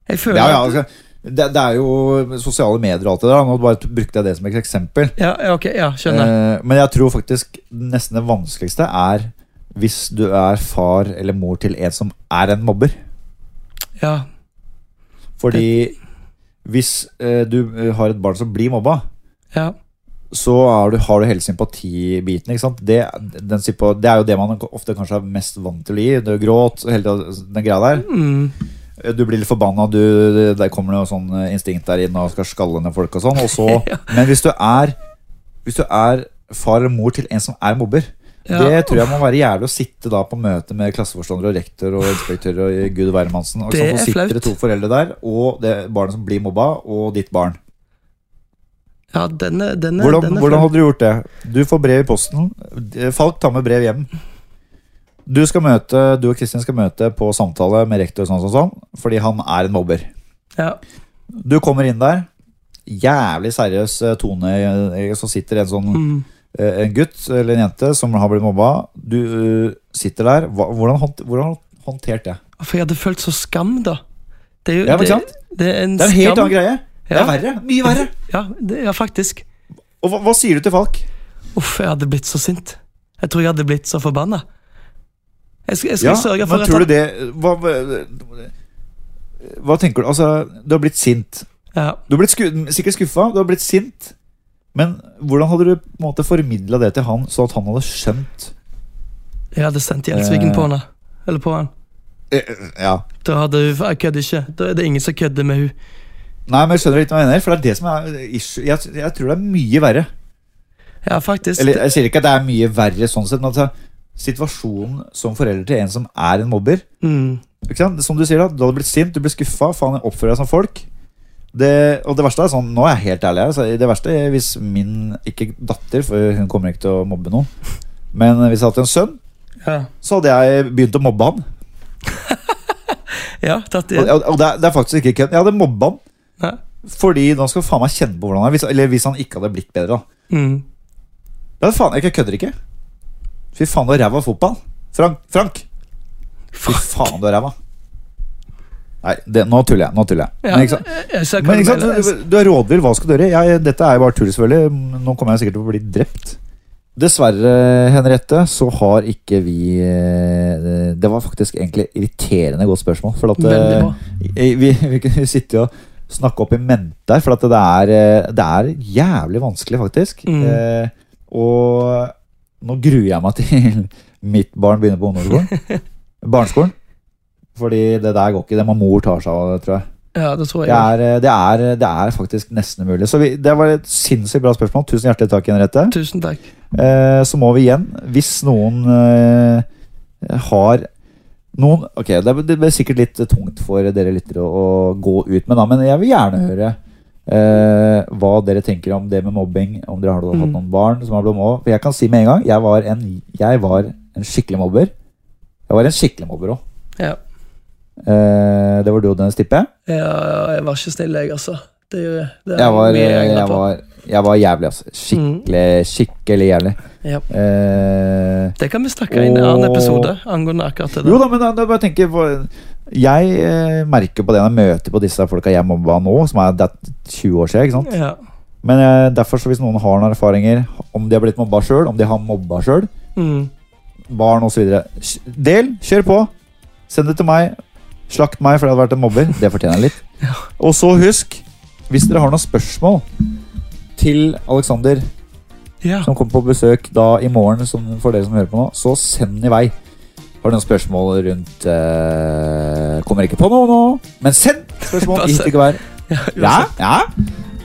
Jeg føler Ja, ja, at- altså, det, det er jo sosiale medier og alt det der. Nå bare brukte jeg det som et eksempel. ja, ja, ok, ja, skjønner. Eh, men jeg tror faktisk nesten det vanskeligste er hvis du er far eller mor til en som er en mobber. Ja, Fordi hvis eh, du eh, har et barn som blir mobba, ja, så er du, har du hele sympatibiten. ikke sant? Det, den sympa, det er jo det man ofte kanskje er mest vant til å gi. Du gråt, hele tiden, altså, den greia der. mm, Eh, Du blir litt forbanna, du, det- der kommer det noe sånn instinkt der inne og skal skalle ned folk og sånn. Og så, men hvis du er Hvis du er far eller mor til en som er mobber, ja. det tror jeg må være jævlig å sitte da på møte med klasseforstander og rektor og inspektør og gud hvermannsen. Og sånn, så Det er sitter det flaut. to foreldre der, og det barnet som blir mobba, og ditt barn. Ja, den er, den er, Hvordan, den er hvordan flau. hadde du gjort det? Du får brev i posten. Eh, Falk tar med brev hjem. Du, skal møte, du og Kristin skal møte på samtale med rektor sånn, sånn, sånn, fordi han er en mobber. ja. Du kommer inn der. Jævlig seriøs eh, tone. eh, Så sitter en sånn Mm. eh, En gutt eller en jente som har blitt mobba. Du eh, sitter der. Hva- Hvordan, hånd, hvordan håndtert det? For jeg hadde følt så skam, da. Det er jo Ja, men det, sant? det er en Det er en helt skam. annen greie. Det Ja. er verre. Mye verre. Ja, det, ja, faktisk. Og hva, hva sier du til Falk? Uff, jeg hadde blitt så sint. Jeg tror jeg hadde blitt så forbanna. Jeg skal, jeg skal Ja, sørge for men tror du at det hva, hva tenker du? Altså, du har blitt sint. ja. Du har blitt sku, sikkert skuffa, du har blitt sint. Men hvordan hadde du på en måte formidla det til han, så at han hadde skjønt Jeg hadde sendt Gjelsviken Eh. på henne. Eller på han. Eh, Ja. Da hadde hun Jeg kødder ikke. Da er det ingen som kødder med hun Nei, men jeg skjønner litt hva jeg mener, for det er det som er issue. Jeg, jeg tror det er mye verre. Ja, faktisk. Eller jeg sier ikke at det er mye verre sånn sett, men altså, situasjonen som forelder til en som er en mobber mm. ikke sant? Som du sier, da, du hadde blitt sint, du ble skuffa, faen, jeg oppfører deg som folk. Det, og det verste er sånn, nå er jeg helt ærlig her, så det verste er hvis min ikke datter, for hun kommer ikke til å mobbe noen, men hvis jeg hadde hatt en sønn, ja. så hadde jeg begynt å mobbe han. ja, tatt Og, i. og, og det, er- det er faktisk ikke kødd. Jeg hadde mobba han Ja. fordi nå skal faen meg kjenne på hvordan han er. Hvis, eller hvis han ikke hadde blitt bedre, da. Mm. Det er faen, jeg kødder ikke. Fy faen, du er ræva i fotball. Frank! Frank! Fy faen, du er ræva. Nei, det, nå tuller jeg. Nå tuller jeg. Ja, Men ikke sant? jeg- jeg ser hva Men du ikke mener. sant, du er rådvill, hva skal du gjøre? Jeg, dette er jo bare tull, selvfølgelig. Nå kommer jeg sikkert til å bli drept. Dessverre, Henriette, så har ikke vi eh, Det var faktisk egentlig irriterende godt spørsmål. For at Veldig eh, bra. vi, vi, vi kunne sitte jo og snakke opp i mente her, for at det er, eh, det er jævlig vanskelig, faktisk. Mm. Eh, og nå gruer jeg meg til mitt barn begynner på ungdomsskolen. Barneskolen. Fordi det der går ikke. Det må mor tar seg av, tror jeg. Ja, det tror jeg. Det er, eh, det, er, det er faktisk nesten umulig. Så vi, det var et sinnssykt bra spørsmål. Tusen hjertelig takk, Henriette. Tusen takk. Eh, så må vi igjen, hvis noen eh, har noen Ok, det er- det blir sikkert litt tungt for dere lyttere å, å gå ut med, da, men jeg vil gjerne høre eh, hva dere tenker om det med mobbing. Om dere har hatt Mm. noen barn som har blitt mobbet. For jeg kan si med en gang, jeg var en, jeg var en skikkelig mobber. Jeg var en skikkelig mobber òg. Ja. Eh, det var du og Dennis, tipper jeg? Jeg, jeg var ikke snill, jeg, altså. Det, er- det er Mm. jeg var, eh, mye jeg jeg, angrer på. var, jeg var jævlig, altså. Skikkelig, skikkelig jævlig. Ja. Eh, Det kan vi snakke inn i en annen Åh. episode angående akkurat det. der. jo da, men da, da bare tenker jeg på- Jeg eh, merker på det når jeg møter på disse folka jeg mobba nå, som er det er 20 år siden. ikke sant? Ja. Men eh, derfor så hvis noen har noen erfaringer, om de har blitt mobba sjøl, om de har mobba sjøl, Mm. barn osv. Del, kjør på. Send det til meg. Slakt meg fordi jeg hadde vært en mobber. Det fortjener jeg litt. Og så husk, hvis dere har noen spørsmål til Aleksander ja. som kommer på besøk da i morgen, som for dere som hører på nå, så send i vei. Har du noen spørsmål rundt eh, Kommer ikke på noe nå, men send spørsmål Bare i send. stykke hver. Ja, uansett. ja.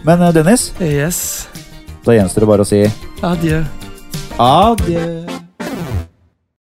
Men eh, Dennis, Yes. da gjenstår det bare å si Adjø. adjø.